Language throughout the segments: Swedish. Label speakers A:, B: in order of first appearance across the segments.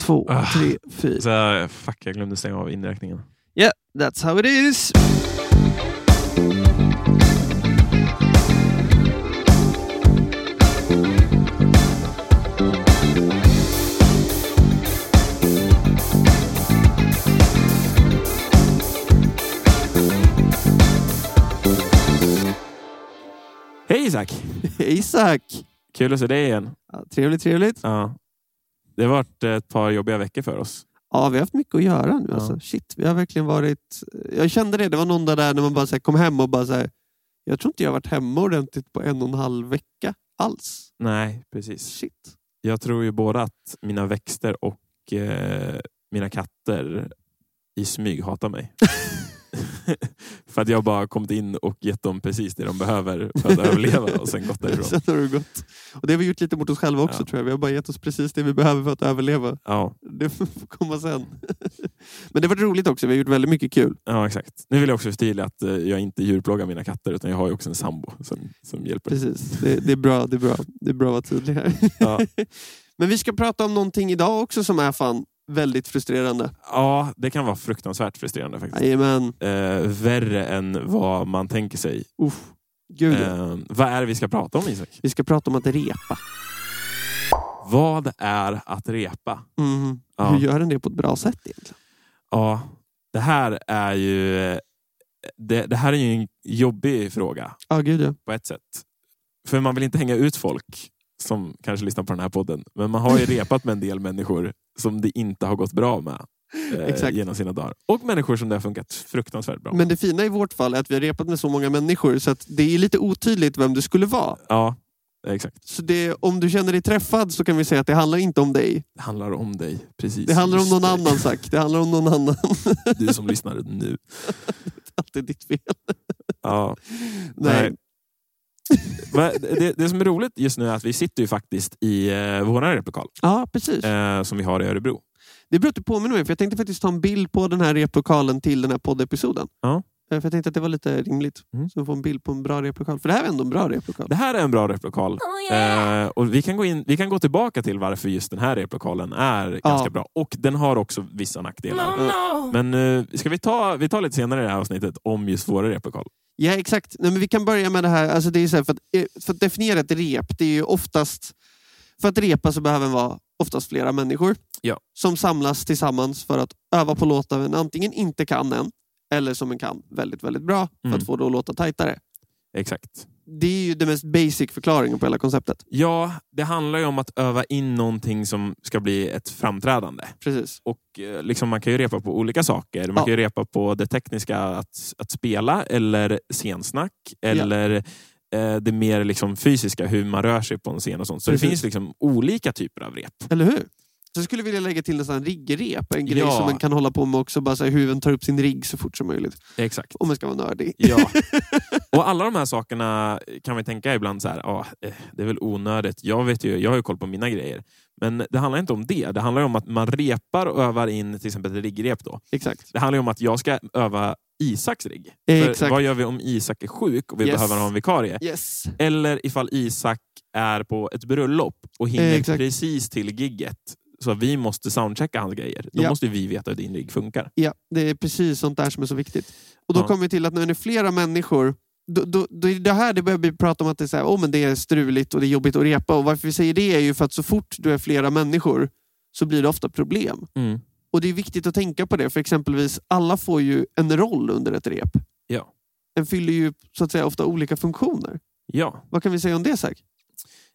A: två,
B: Ah.
A: tre, fyra.
B: Så, här, fuck, jag glömde stänga av inräkningen.
A: Yeah, that's how it is.
B: Hej Isak!
A: Isak!
B: Kul att se dig igen.
A: Ja, trevligt, trevligt.
B: Ja. Det har varit ett par jobbiga veckor för oss.
A: Ja, vi har haft mycket att göra nu.
B: Ja.
A: Alltså. Shit, vi har verkligen varit... Jag kände det, det var någon dag där när man bara så här, kom hem och bara så här, Jag tror inte jag har varit hemma ordentligt på en och en halv vecka alls.
B: Nej, precis.
A: Shit.
B: Jag tror ju både att mina växter och eh, mina katter i smyg hatar mig. för att jag bara kommit in och gett dem precis det de behöver för att överleva och sen gått därifrån.
A: Sen har det gått. Och det har vi gjort lite mot oss själva också
B: Ja.
A: tror jag. Vi har bara gett oss precis det vi behöver för att överleva.
B: Ja,
A: Det får komma sen. Men det har varit roligt också. Vi har gjort väldigt mycket kul.
B: ja, exakt. Nu vill jag också förtydliga att eh, jag inte djurplågar mina katter utan jag har ju också en sambo som, som hjälper.
A: Precis. Det, det, är bra, det, är bra. det är bra att vara tydlig här.
B: Ja.
A: Men vi ska prata om någonting idag också som är fan väldigt frustrerande.
B: ja, det kan vara fruktansvärt frustrerande faktiskt.
A: Jajamän.
B: eh, värre än vad man tänker sig.
A: Uff. Gud, ja.
B: Eh, vad är det vi ska prata om Isak?
A: Vi ska prata om att repa.
B: Vad är att repa?
A: Mhm.
B: Ja.
A: Hur gör den det på ett bra sätt egentligen?
B: Ja, det här är ju eh, det, det här är ju en jobbig fråga
A: Ja, gud ja.
B: på ett sätt. För man vill inte hänga ut folk som kanske lyssnar på den här podden. Men man har ju repat med en del människor som det inte har gått bra med eh,
A: Exakt.
B: genom sina dagar. Och människor som det har funkat fruktansvärt bra. med.
A: Men det fina i vårt fall är att vi har repat med så många människor så att det är lite otydligt vem du skulle vara.
B: Ja, exakt.
A: Så det, om du känner dig träffad så kan vi säga att det handlar inte om dig.
B: Det handlar om dig. Precis.
A: Det handlar om
B: Just
A: någon
B: dig.
A: annan sak. Det handlar om någon annan.
B: Du som lyssnar nu.
A: Allt är ditt fel.
B: Ja.
A: Nej.
B: Nej. Va- det, det som är roligt just nu är att vi sitter ju faktiskt i eh, vår replokal
A: Ja, precis.
B: eh, som vi har i Örebro.
A: Det är bra att du påminner mig för jag tänkte faktiskt ta en bild på den här replokalen till den här poddepisoden.
B: Ja.
A: Eh, För jag tänkte att det var lite rimligt.
B: Mm.
A: Så vi får en bild på en bra replokal. För det här är ändå en bra replokal.
B: Det här är en bra replokal. Eh, och vi kan, gå in, vi kan gå tillbaka till varför just den här replokalen är ganska bra. Och den har också vissa nackdelar. Men eh, ska vi ta, vi tar lite senare i det här avsnittet om just vår replokal.
A: Ja, exakt. Nej, men vi kan börja med det här. Alltså, det är så här för, att, eh, för att definiera ett rep, det är ju oftast... För att repa så behöver man vara oftast flera människor
B: Ja.
A: som samlas tillsammans för att öva på låtar man antingen inte kan än eller som man kan väldigt, väldigt bra för
B: Mm.
A: att få det att låta tajtare.
B: Exakt.
A: Det är ju den mest basic förklaringen på hela konceptet.
B: Ja, det handlar ju om att öva in någonting som ska bli ett framträdande.
A: Precis.
B: Och eh, liksom man kan ju repa på olika saker. Man
A: Ja.
B: kan ju repa på det tekniska att, att spela eller scensnack. Eller eh, det mer liksom fysiska, hur man rör sig på en scen och sånt. Så
A: Precis.
B: det finns liksom olika typer av rep.
A: Eller hur? Så jag skulle vilja lägga till nästan riggrep, en grej
B: Ja.
A: som man kan hålla på med också. Bara så här, hur man tar upp sin rigg så fort som möjligt.
B: Exakt.
A: Om man ska vara nördig.
B: Ja. Och alla de här sakerna kan vi tänka ibland så här, ah, eh, det är väl onödigt. Jag, vet ju, jag har ju koll på mina grejer. Men det handlar inte om det. Det handlar ju om att man repar och övar in till exempel ett riggrep. Då.
A: Exakt.
B: Det handlar ju om att jag ska öva Isaks rigg. För
A: Exakt.
B: Vad gör vi om Isak är sjuk och vi
A: Yes.
B: behöver ha en vikarie?
A: Yes.
B: Eller ifall Isak är på ett bröllop och hinner
A: Eh, exakt.
B: precis till gigget så vi måste soundchecka hans grejer. Då
A: Ja.
B: måste vi veta hur din rigg funkar.
A: Ja, det är precis sånt där som är så viktigt. Och då
B: Ja.
A: kommer vi till att när det är flera människor då, då, då är det här det börjar vi prata om att det är, så här, oh, men det är struligt och det är jobbigt att repa. Och varför vi säger det är ju för att så fort du är flera människor så blir det ofta problem.
B: Mm.
A: Och det är viktigt att tänka på det för exempelvis alla får ju en roll under ett rep.
B: Ja.
A: Den fyller ju så att säga ofta olika funktioner.
B: Ja.
A: Vad kan vi säga om det Zack?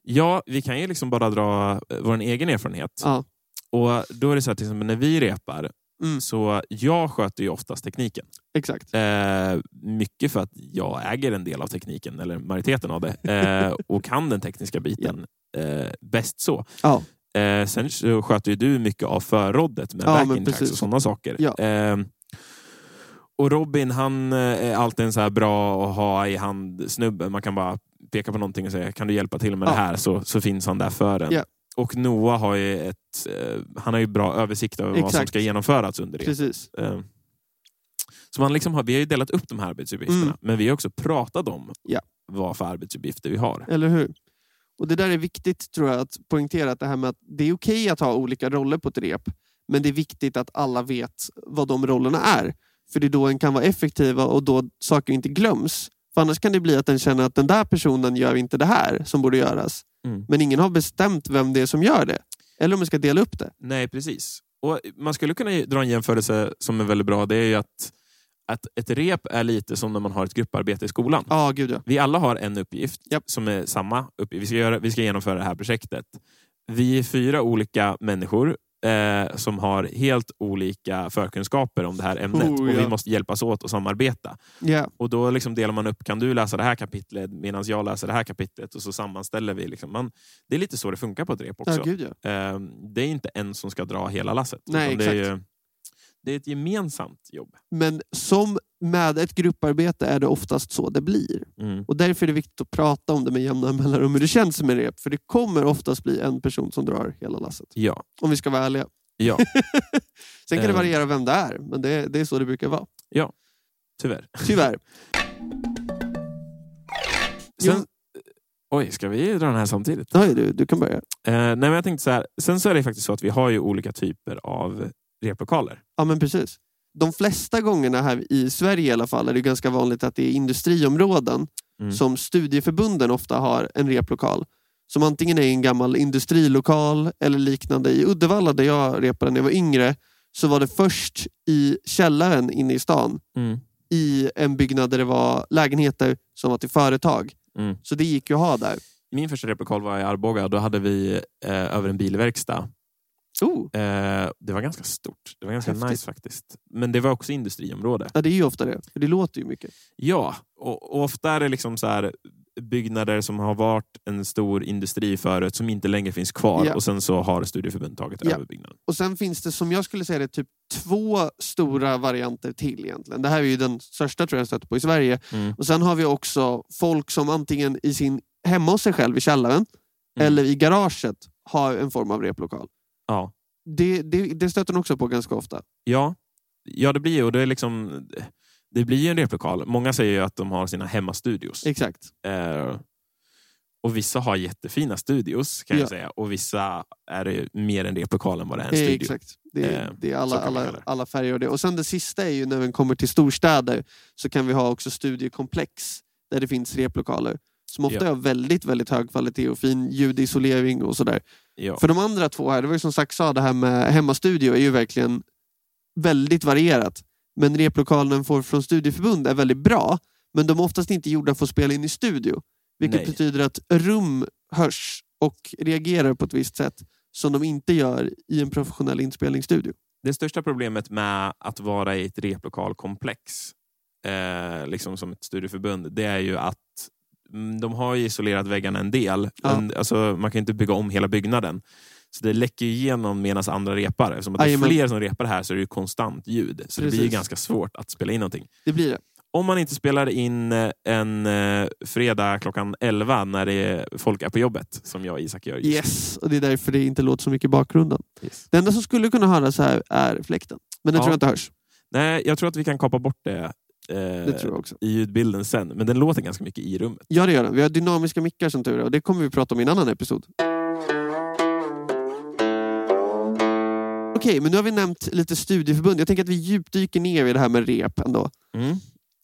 B: ja, vi kan ju liksom bara dra eh, vår egen erfarenhet.
A: Ja.
B: Och då är det så här, till exempel när vi repar,
A: Mm.
B: så jag sköter ju oftast tekniken.
A: Exakt.
B: Eh, mycket för att jag äger en del av tekniken, eller majoriteten av det, eh, och kan den tekniska biten eh, bäst så.
A: Ja.
B: Eh, sen så sköter ju du mycket av förroddet med
A: Ja, men
B: backing tracks
A: precis.
B: och sådana saker.
A: Ja.
B: Eh, och Robin, han eh, är alltid en så här bra att ha i hand snubbe. Man kan bara peka på någonting och säga, kan du hjälpa till med
A: Ja.
B: det här? Så, så finns han där för en.
A: Ja.
B: Och Noah har ju, ett, eh, han har ju bra översikt över vad som
A: Exakt.
B: ska genomföras under det.
A: Precis.
B: Eh, Så man liksom har, vi har ju delat upp de här arbetsuppgifterna,
A: Mm.
B: men vi har också pratat om
A: Ja.
B: vad för arbetsuppgifter vi har.
A: Eller hur? Och det där är viktigt tror jag att poängtera att det här med att det är okej att ha olika roller på ett rep. Men det är viktigt att alla vet vad de rollerna är. För det är då en kan vara effektiva och då saker inte glöms. För annars kan det bli att den känner att den där personen gör inte det här som borde göras.
B: Mm.
A: Men ingen har bestämt vem det är som gör det. Eller om man ska dela upp det.
B: Nej, precis. Och man skulle kunna dra en jämförelse som är väldigt bra. Det är ju att, att ett rep är lite som när man har ett grupparbete i skolan.
A: Ja, gud ja.
B: Vi alla har en uppgift
A: Japp.
B: som är samma uppgift. Vi ska, göra, vi ska genomföra det här projektet. Vi är fyra olika människor eh, som har helt olika förkunskaper om det här ämnet.
A: Oh,
B: Och vi
A: ja.
B: måste hjälpas åt och samarbeta.
A: Ja,
B: Och då liksom delar man upp, kan du läsa det här kapitlet medan jag läser det här kapitlet? Och så sammanställer vi. Liksom. Man, det är lite så det funkar på ett rep också.
A: ja gud ja.
B: Eh, det är inte en som ska dra hela lasset.
A: Nej,
B: utan det, är ju, det är ett gemensamt jobb.
A: Men som med ett grupparbete är det oftast så det blir.
B: Mm.
A: Och därför är det viktigt att prata om det med jämna mellanrum hur det känns med rep. För det kommer oftast bli en person som drar hela lasset.
B: Ja.
A: Om vi ska vara ärliga.
B: ja,
A: Sen kan det
B: Eh.
A: variera vem det är, men det, det är så det brukar vara.
B: tyvärr.
A: Tyvärr.
B: Sen,
A: Jo.
B: Oj, ska vi dra den här samtidigt?
A: Nej, du, du kan börja.
B: Eh, nej, men jag tänkte så här. Sen så är det faktiskt så att vi har ju olika typer av replokaler.
A: Ja, men precis. De flesta gångerna här i Sverige i alla fall är det ganska vanligt att det är industriområden
B: Mm.
A: som studieförbunden ofta har en replokal. Som antingen är en gammal industrilokal eller liknande. I Uddevalla där jag repade när jag var yngre så var det först i källaren inne i stan
B: Mm.
A: i en byggnad där det var lägenheter som var till företag.
B: Mm.
A: Så det gick ju att ha där.
B: Min första replokal var i Arboga. Då hade vi eh, över en bilverkstad.
A: Oh,
B: Eh, det var ganska stort. Det var ganska
A: Häftigt.
B: nice faktiskt. Men det var också industriområde.
A: ja, det är ju ofta det. För det låter ju mycket.
B: Ja, och, och ofta är det liksom så här byggnader som har varit en stor industri förut som inte längre finns kvar
A: Ja.
B: och sen så har studieförbundet tagit
A: Ja.
B: över byggnaden.
A: Och sen finns det som jag skulle säga det typ två stora varianter till egentligen. Det här är ju den största tror jag jag stött på i Sverige.
B: Mm.
A: Och sen har vi också folk som antingen i sin, hemma hos sig själv i källaren
B: Mm.
A: eller i garaget har en form av replokal.
B: Ja.
A: Det, det, det stöter man också på ganska ofta.
B: Ja, ja det blir ju och det är liksom det blir ju en replokal. Många säger ju att de har sina hemmastudios.
A: Exakt.
B: Eh, och vissa har jättefina studios kan
A: Ja.
B: jag säga. Och vissa är det mer en replokal än vad det är en
A: Eh,
B: studio.
A: Exakt. Det är,
B: Eh,
A: det är alla,
B: så kan man kalla
A: alla,
B: det.
A: alla färger och det. Och sen det sista är ju när vi kommer till storstäder så kan vi ha också studiekomplex där det finns replokaler som ofta
B: Ja.
A: har väldigt, väldigt hög kvalitet och fin ljudisolering och sådär.
B: Ja.
A: För de andra två här, det var ju som sagt sa, det här med hemmastudio är ju verkligen väldigt varierat. Men replokalen får från studieförbund är väldigt bra, men de är oftast inte gjorda för att spela in i studio. Vilket
B: Nej.
A: betyder att rum hörs och reagerar på ett visst sätt som de inte gör i en professionell inspelningsstudio.
B: Det största problemet med att vara i ett replokalkomplex, eh, liksom som ett studieförbund, det är ju att mm, de har ju isolerat väggarna en del.
A: Ja.
B: En, alltså, man kan ju inte bygga om hela byggnaden. Så det läcker ju igenom medan andra repar. Eftersom att det är
A: Jajamän.
B: fler som repar här så är det ju konstant ljud. Så det blir ju
A: Precis.
B: ganska svårt att spela in någonting.
A: Det blir det.
B: Om man inte spelar in eh, en eh, fredag klockan 11 när det är, folk är på jobbet, som jag och Isak gör just
A: Yes, och det är därför det inte låter så mycket i bakgrunden.
B: yes.
A: Det enda som skulle kunna höras här är fläkten. Men det
B: Ja.
A: tror jag inte hörs.
B: Nej, jag tror att vi kan kapa bort det. eh,
A: Det tror jag också.
B: i ljudbilden sen, men den låter ganska mycket i rummet.
A: Ja, det gör den. Vi har dynamiska mickar som tur är och det kommer vi prata om i en annan episod. Okej, men nu har vi nämnt lite studieförbund. Jag tänker att vi djupdyker ner i det här med rep ändå.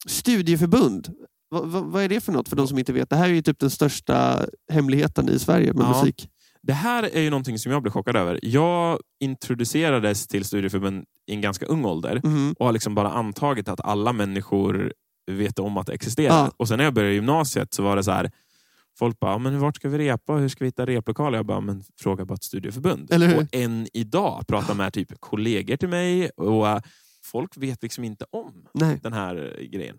A: Studieförbund, vad, vad, vad är det för något för de som inte vet? Det här är ju typ den största hemligheten i Sverige med
B: Ja.
A: musik.
B: Det här är ju någonting som jag blev chockad över. Jag introducerades till studieförbund i en ganska ung ålder
A: Mhm.
B: och har liksom bara antagit att alla människor vet om att det existerar.
A: Ja.
B: Och sen när jag började gymnasiet så var det så här, folk bara, "Ja, men vart ska vi repa? Hur ska vi hitta replokaler? Jag bara, men fråga bara ett studieförbund.
A: Eller hur?
B: Och än idag pratar med typ kollegor till mig och eh, folk vet liksom inte om
A: Nej.
B: den här eh, grejen.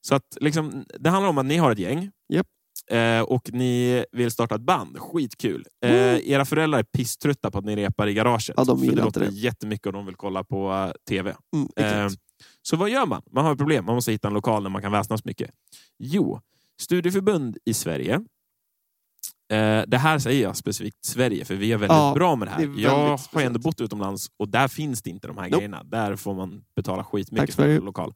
B: Så att liksom, det handlar om att ni har ett gäng.
A: Japp.
B: Eh, och ni vill starta ett band. Skitkul. Eh,
A: Mm.
B: Era föräldrar är pisströtta på att ni repar i garaget.
A: Ja, de
B: för det
A: gillar inte
B: låter
A: det.
B: jättemycket och de vill kolla på eh, TV.
A: Mm,
B: Eh,
A: exakt.
B: så vad gör man? Man har ett problem. Man måste hitta en lokal där man kan väsnas mycket. Jo, studieförbund i Sverige. Eh, det här säger jag specifikt Sverige, för vi är väldigt
A: Ja,
B: bra med det
A: det
B: här.
A: är väldigt
B: jag har ju
A: speciellt.
B: ändå bott utomlands och där finns det inte de här
A: Nope.
B: grejerna. Där får man betala skitmycket
A: Tack,
B: för
A: Sverige.
B: en lokal.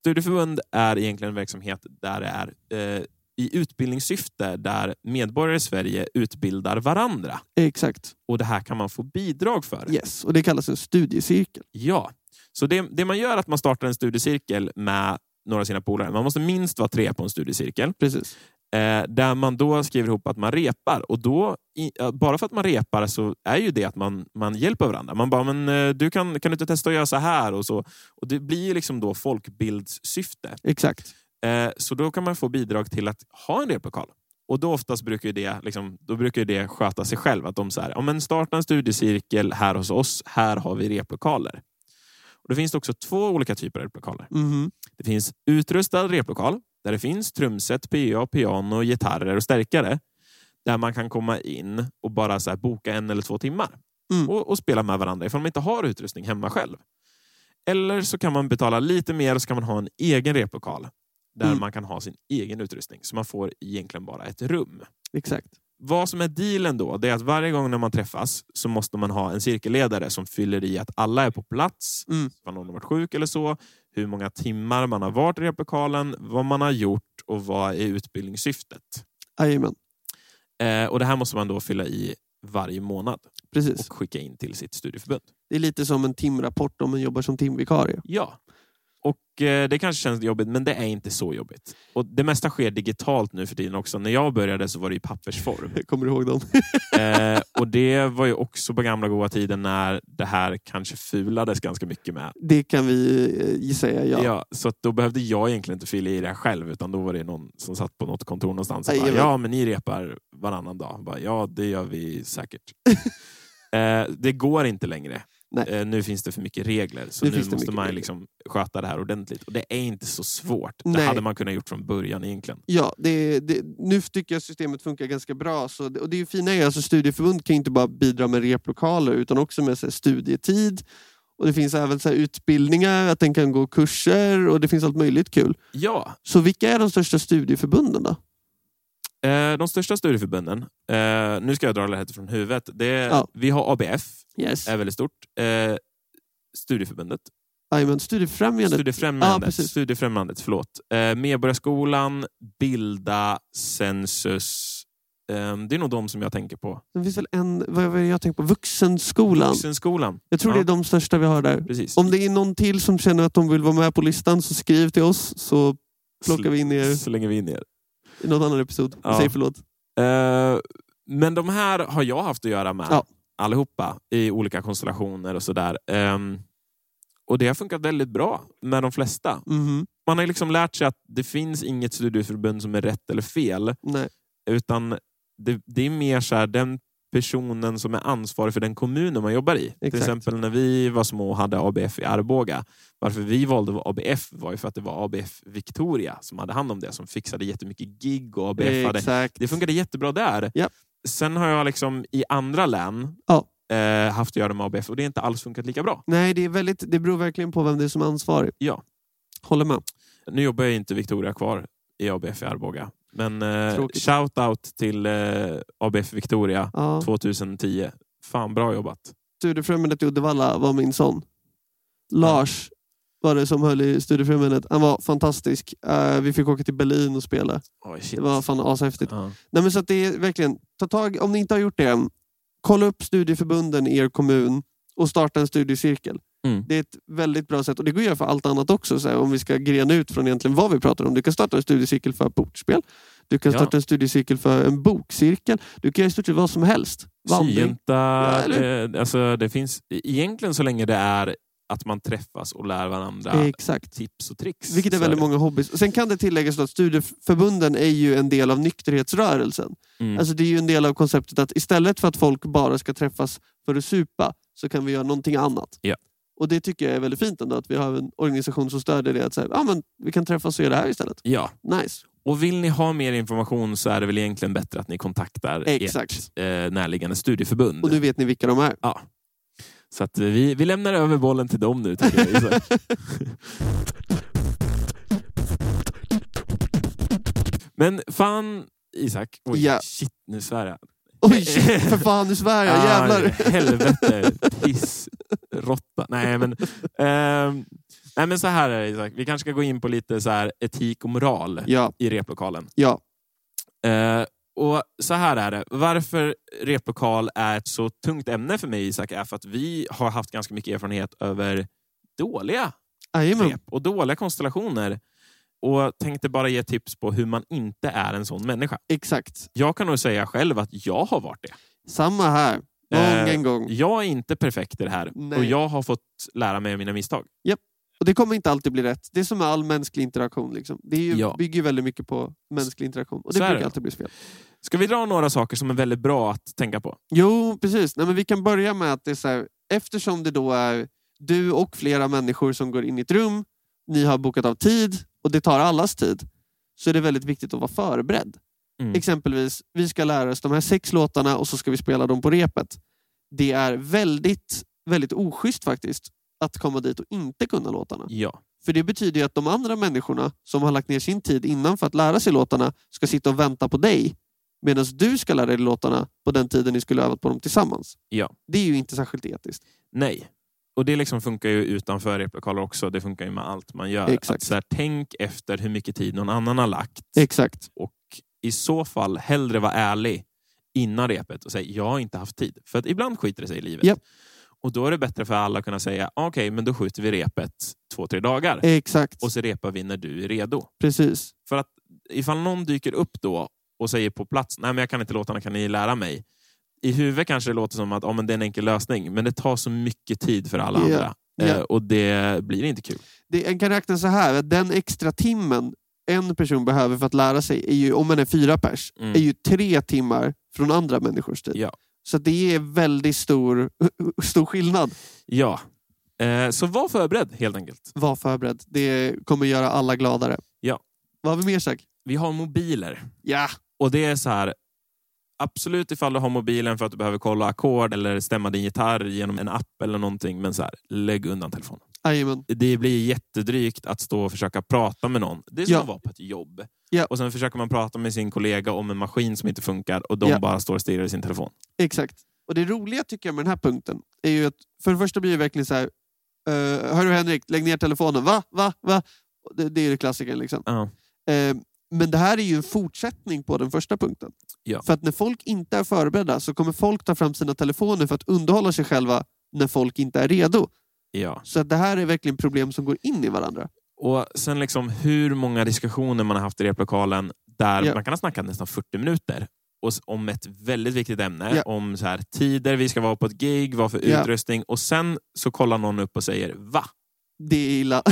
B: Studieförbund är egentligen en verksamhet där det är eh, i utbildningssyfte där medborgare i Sverige utbildar varandra.
A: Exakt.
B: Och det här kan man få bidrag för.
A: Yes. Och det kallas en studiecirkel.
B: Ja. Så det, det man gör är att man startar en studiecirkel med några av sina polare. Man måste minst vara tre på en studiecirkel.
A: Precis.
B: Eh, där man då skriver ihop att man repar. Och då, i, eh, bara för att man repar så är ju det att man, man hjälper varandra. Man bara, men eh, du kan, kan du inte testa att göra så här? Och, så. och det blir ju liksom då folkbildssyfte.
A: Exakt.
B: Eh, så då kan man få bidrag till att ha en replokal. Och då oftast brukar ju det, liksom, då brukar ju det sköta sig själv. Att de så här, ja, men starta en studiecirkel här hos oss. Här har vi replokaler. Och då finns det också två olika typer av replokaler.
A: Mhm.
B: Det finns utrustad replokal där det finns trumset, PA, piano, gitarrer och stärkare. Där man kan komma in och bara så här boka en eller två timmar
A: Mm.
B: och, och spela med varandra ifall man inte har utrustning hemma själv. Eller så kan man betala lite mer och så kan man ha en egen replokal där
A: Mm.
B: man kan ha sin egen utrustning. Så man får egentligen bara ett rum.
A: Exakt.
B: Vad som är dealen då, det är att varje gång när man träffas så måste man ha en cirkelledare som fyller i att alla är på plats,
A: Mm.
B: om någon har varit sjuk eller så, hur många timmar man har varit i replokalen, vad man har gjort och vad är utbildningssyftet.
A: Jajamän.
B: Eh, och det här måste man då fylla i varje månad
A: Precis.
B: och skicka in till sitt studieförbund.
A: Det är lite som en timrapport om man jobbar som timvikarie.
B: Ja. Och eh, Det kanske känns jobbigt, men det är inte så jobbigt. Och Det mesta sker digitalt nu för tiden också. När jag började så var det i pappersform.
A: Kommer du ihåg dem?
B: Eh, och det var ju också på gamla goda tiden när det här kanske fulades ganska mycket med.
A: Det kan vi eh, säga ja.
B: Ja, så att då behövde jag egentligen inte fylla i det här själv utan då var det någon som satt på något kontor någonstans och bara,
A: Jajamän.
B: ja men ni repar varannan dag. Jag Bara, ja det gör vi säkert. eh, det går inte längre.
A: Nej.
B: Eh, nu finns det för mycket regler så
A: Nu
B: nu
A: finns det
B: måste
A: mycket
B: man
A: regler.
B: liksom sköta det här ordentligt. Och det är inte så svårt. Det
A: Nej.
B: hade man kunnat gjort från början egentligen.
A: Ja, det, det, nu tycker jag systemet funkar ganska bra. Så, det- och det är ju fina är alltså studieförbund kan ju inte bara bidra med replokaler utan också med så här, studietid. Och Det finns även så här, utbildningar, att den kan gå kurser och det finns allt möjligt kul.
B: Ja,
A: Så vilka är de största studieförbunden då?
B: eh, de största studieförbunden. Eh, nu ska jag dra det här från huvudet. Det,
A: Ja.
B: Vi har ABF
A: Yes.
B: är väldigt stort. Eh, studieförbundet.
A: Jajamän, Studiefrämjandet. Ja,
B: Studiefrämjandet.
A: precis.
B: Studiefrämjandet förlåt. Eh, Medborgarskolan, Bilda, Sensus. Eh, det är nog de som jag tänker på.
A: det finns väl en, vad vad jag tänker på, Vuxenskolan.
B: Vuxenskolan.
A: Jag tror
B: Ja.
A: det är de största vi har där.
B: Precis.
A: Om det är någon till som känner att de vill vara med på listan så skriv till oss så plockar vi in er
B: Så länge vi in er.
A: i någon annan episod.
B: Ja.
A: Säg förlåt.
B: Eh, men de här har jag haft att göra med.
A: Ja.
B: Allihopa. I olika konstellationer och sådär. Ehm, och det har funkat väldigt bra med de flesta.
A: Mhm.
B: Man har ju liksom lärt sig att det finns inget studieförbund som är rätt eller fel.
A: Nej.
B: Utan det, det är mer så här, den personen som är ansvarig för den kommunen man jobbar i. Till
A: Exakt.
B: exempel när vi var små och hade ABF i Arboga. Varför vi valde att vara ABF var ju för att det var ABF Victoria som hade hand om det. Som fixade jättemycket gig och ABF hade...
A: Exakt.
B: Det funkade jättebra där.
A: Ja.
B: Sen har jag liksom i andra län
A: Ja.
B: eh, haft att göra med ABF och det har inte alls funkat lika bra.
A: Nej, det, är väldigt, det beror verkligen på vem det är som är ansvarig.
B: Ja.
A: Håller med.
B: Nu jobbar jag inte Victoria kvar i ABF i Arboga. Men eh,
A: Tråkigt.
B: shout-out till eh, ABF Victoria
A: Ja.
B: 2010. Fan, bra jobbat.
A: Studiefrämjandet i Uddevalla var min son. Lars var det som höll i Studiefrämjandet. Han var fantastisk. Eh, vi fick åka till Berlin och spela.
B: Oj, shit.
A: Det var fan ashäftigt.
B: Ja.
A: Nej, men så att det är verkligen, ta tag, om ni inte har gjort det än, kolla upp studieförbunden i er kommun och starta en studiecirkel.
B: Mm.
A: Det är ett väldigt bra sätt och det går att göra för allt annat också. Så här, om vi ska grena ut från egentligen vad vi pratar om. Du kan starta en studiecirkel för bordspel. Du kan
B: Ja.
A: starta en studiecirkel för en bokcirkel. Du kan göra i stort sett vad som helst. Vandring.
B: Syjunta,
A: Ja,
B: eh, alltså det finns egentligen så länge det är att man träffas och lär varandra
A: Exakt.
B: tips och tricks.
A: Vilket är
B: så
A: väldigt
B: det.
A: många hobbys. Sen kan det tilläggas då att studieförbunden är ju en del av nykterhetsrörelsen.
B: Mm.
A: Alltså det är ju en del av konceptet att istället för att folk bara ska träffas för att supa så kan vi göra någonting annat.
B: Ja.
A: Och det tycker jag är väldigt fint ändå att vi har en organisation som stödjer det. Att säga, ah, men vi kan träffas och göra det här istället.
B: Ja,
A: Nice.
B: och vill ni ha mer information så är det väl egentligen bättre att ni kontaktar
A: Exakt.
B: ert eh, närliggande studieförbund.
A: Och nu vet ni vilka de är.
B: Ja. Så att eh, vi, vi lämnar över bollen till dem nu. Tycker jag. Isak. Men fan, Isak. Oj,
A: Ja.
B: shit, nu svär jag.
A: Oj, shit, för fan nu svär jag.
B: Ah,
A: Jävlar.
B: Helvete, piss, råtta. Nej men, ehm, nej men så här är det Isak. Vi kanske ska gå in på lite så här etik och moral
A: Ja,
B: i replokalen.
A: ja.
B: Eh, och så här är det. Varför replokal är ett så tungt ämne för mig Isak är för att vi har haft ganska mycket erfarenhet över dåliga
A: Jajamän.
B: rep och dåliga konstellationer. Och tänkte bara ge tips på hur man inte är en sån människa.
A: Exakt.
B: Jag kan nog säga själv att jag har varit det.
A: Samma här.
B: Eh.
A: Mången gång.
B: Jag är inte perfekt i det här
A: Nej.
B: och jag har fått lära mig av mina misstag.
A: Och det kommer inte alltid bli rätt. Det är som med all mänsklig interaktion. Liksom. Det är ju,
B: Ja.
A: bygger ju väldigt mycket på mänsklig interaktion. Och det
B: Så är
A: brukar
B: det.
A: alltid bli fel.
B: Ska vi dra några saker som är väldigt bra att tänka på?
A: Jo, precis. Nej, men vi kan börja med att det är så här, eftersom det då är du och flera människor som går in i ett rum, ni har bokat av tid och det tar allas tid, så är det väldigt viktigt att vara förberedd.
B: Mm.
A: Exempelvis, vi ska lära oss de här sex låtarna och så ska vi spela dem på repet. Det är väldigt, väldigt oschysst faktiskt att komma dit och inte kunna låtarna.
B: Ja.
A: För det betyder ju att de andra människorna som har lagt ner sin tid innan för att lära sig låtarna ska sitta och vänta på dig medan du ska lära dig låtarna på den tiden ni skulle ha övat på dem tillsammans.
B: Ja.
A: Det är ju inte särskilt etiskt.
B: Nej. Och det liksom funkar ju utanför replokaler också. Det funkar ju med allt man gör.
A: Exakt.
B: Att så här, tänk efter hur mycket tid någon annan har lagt.
A: Exakt.
B: I så fall hellre vara ärlig innan repet och säga jag har inte haft tid. För att ibland skiter det sig i livet.
A: Japp.
B: Och då är det bättre för alla att kunna säga okej, men då skjuter vi repet två, tre dagar.
A: Exakt.
B: Och så repar vi när du är redo.
A: Precis.
B: För att ifall någon dyker upp då och säger på plats, nej men jag kan inte låtarna, kan ni lära mig? I huvudet kanske det låter som att ja, men det är en enkel lösning, men det tar så mycket tid för alla
A: Ja,
B: andra.
A: ja.
B: Eh, och det blir inte kul.
A: Det, en kan räkna så här, att den extra timmen en person behöver för att lära sig, är ju, om man är fyra pers,
B: Mm.
A: är ju tre timmar från andra människors tid.
B: Ja.
A: Så det är väldigt stor, stor skillnad.
B: Ja. Eh, så var förberedd helt enkelt.
A: Var förberedd. Det kommer göra alla gladare.
B: Ja.
A: Vad har vi mer sagt?
B: Vi har mobiler.
A: Ja,
B: Och det är så här, absolut ifall du har mobilen för att du behöver kolla ackord eller stämma din gitarr genom en app eller någonting, men så här, lägg undan telefonen.
A: jajamän.
B: det blir jättedrygt att stå och försöka prata med någon. Det är som
A: Ja.
B: att vara på ett jobb.
A: Ja.
B: Och sen försöker man prata med sin kollega om en maskin som inte funkar och de
A: Ja.
B: bara står och stirrar i sin telefon.
A: Exakt. Och det roliga tycker jag med den här punkten är ju att för det första blir det verkligen så här uh, Hörru Henrik, lägg ner telefonen. Va? Va? Va? Och Det, det är ju klassikern liksom.
B: Ja.
A: Eh, men det här är ju en fortsättning på den första punkten.
B: Ja.
A: För att när folk inte är förberedda så kommer folk ta fram sina telefoner för att underhålla sig själva när folk inte är redo.
B: Ja.
A: Så att det här är verkligen problem som går in i varandra.
B: Och sen liksom hur många diskussioner man har haft i replokalen där
A: Ja.
B: man kan ha snackat nästan 40 minuter och s- om ett väldigt viktigt ämne,
A: Ja.
B: om så här, tider vi ska vara på ett gig, vad för
A: Ja.
B: utrustning och sen så kollar någon upp och säger va?
A: Det är illa.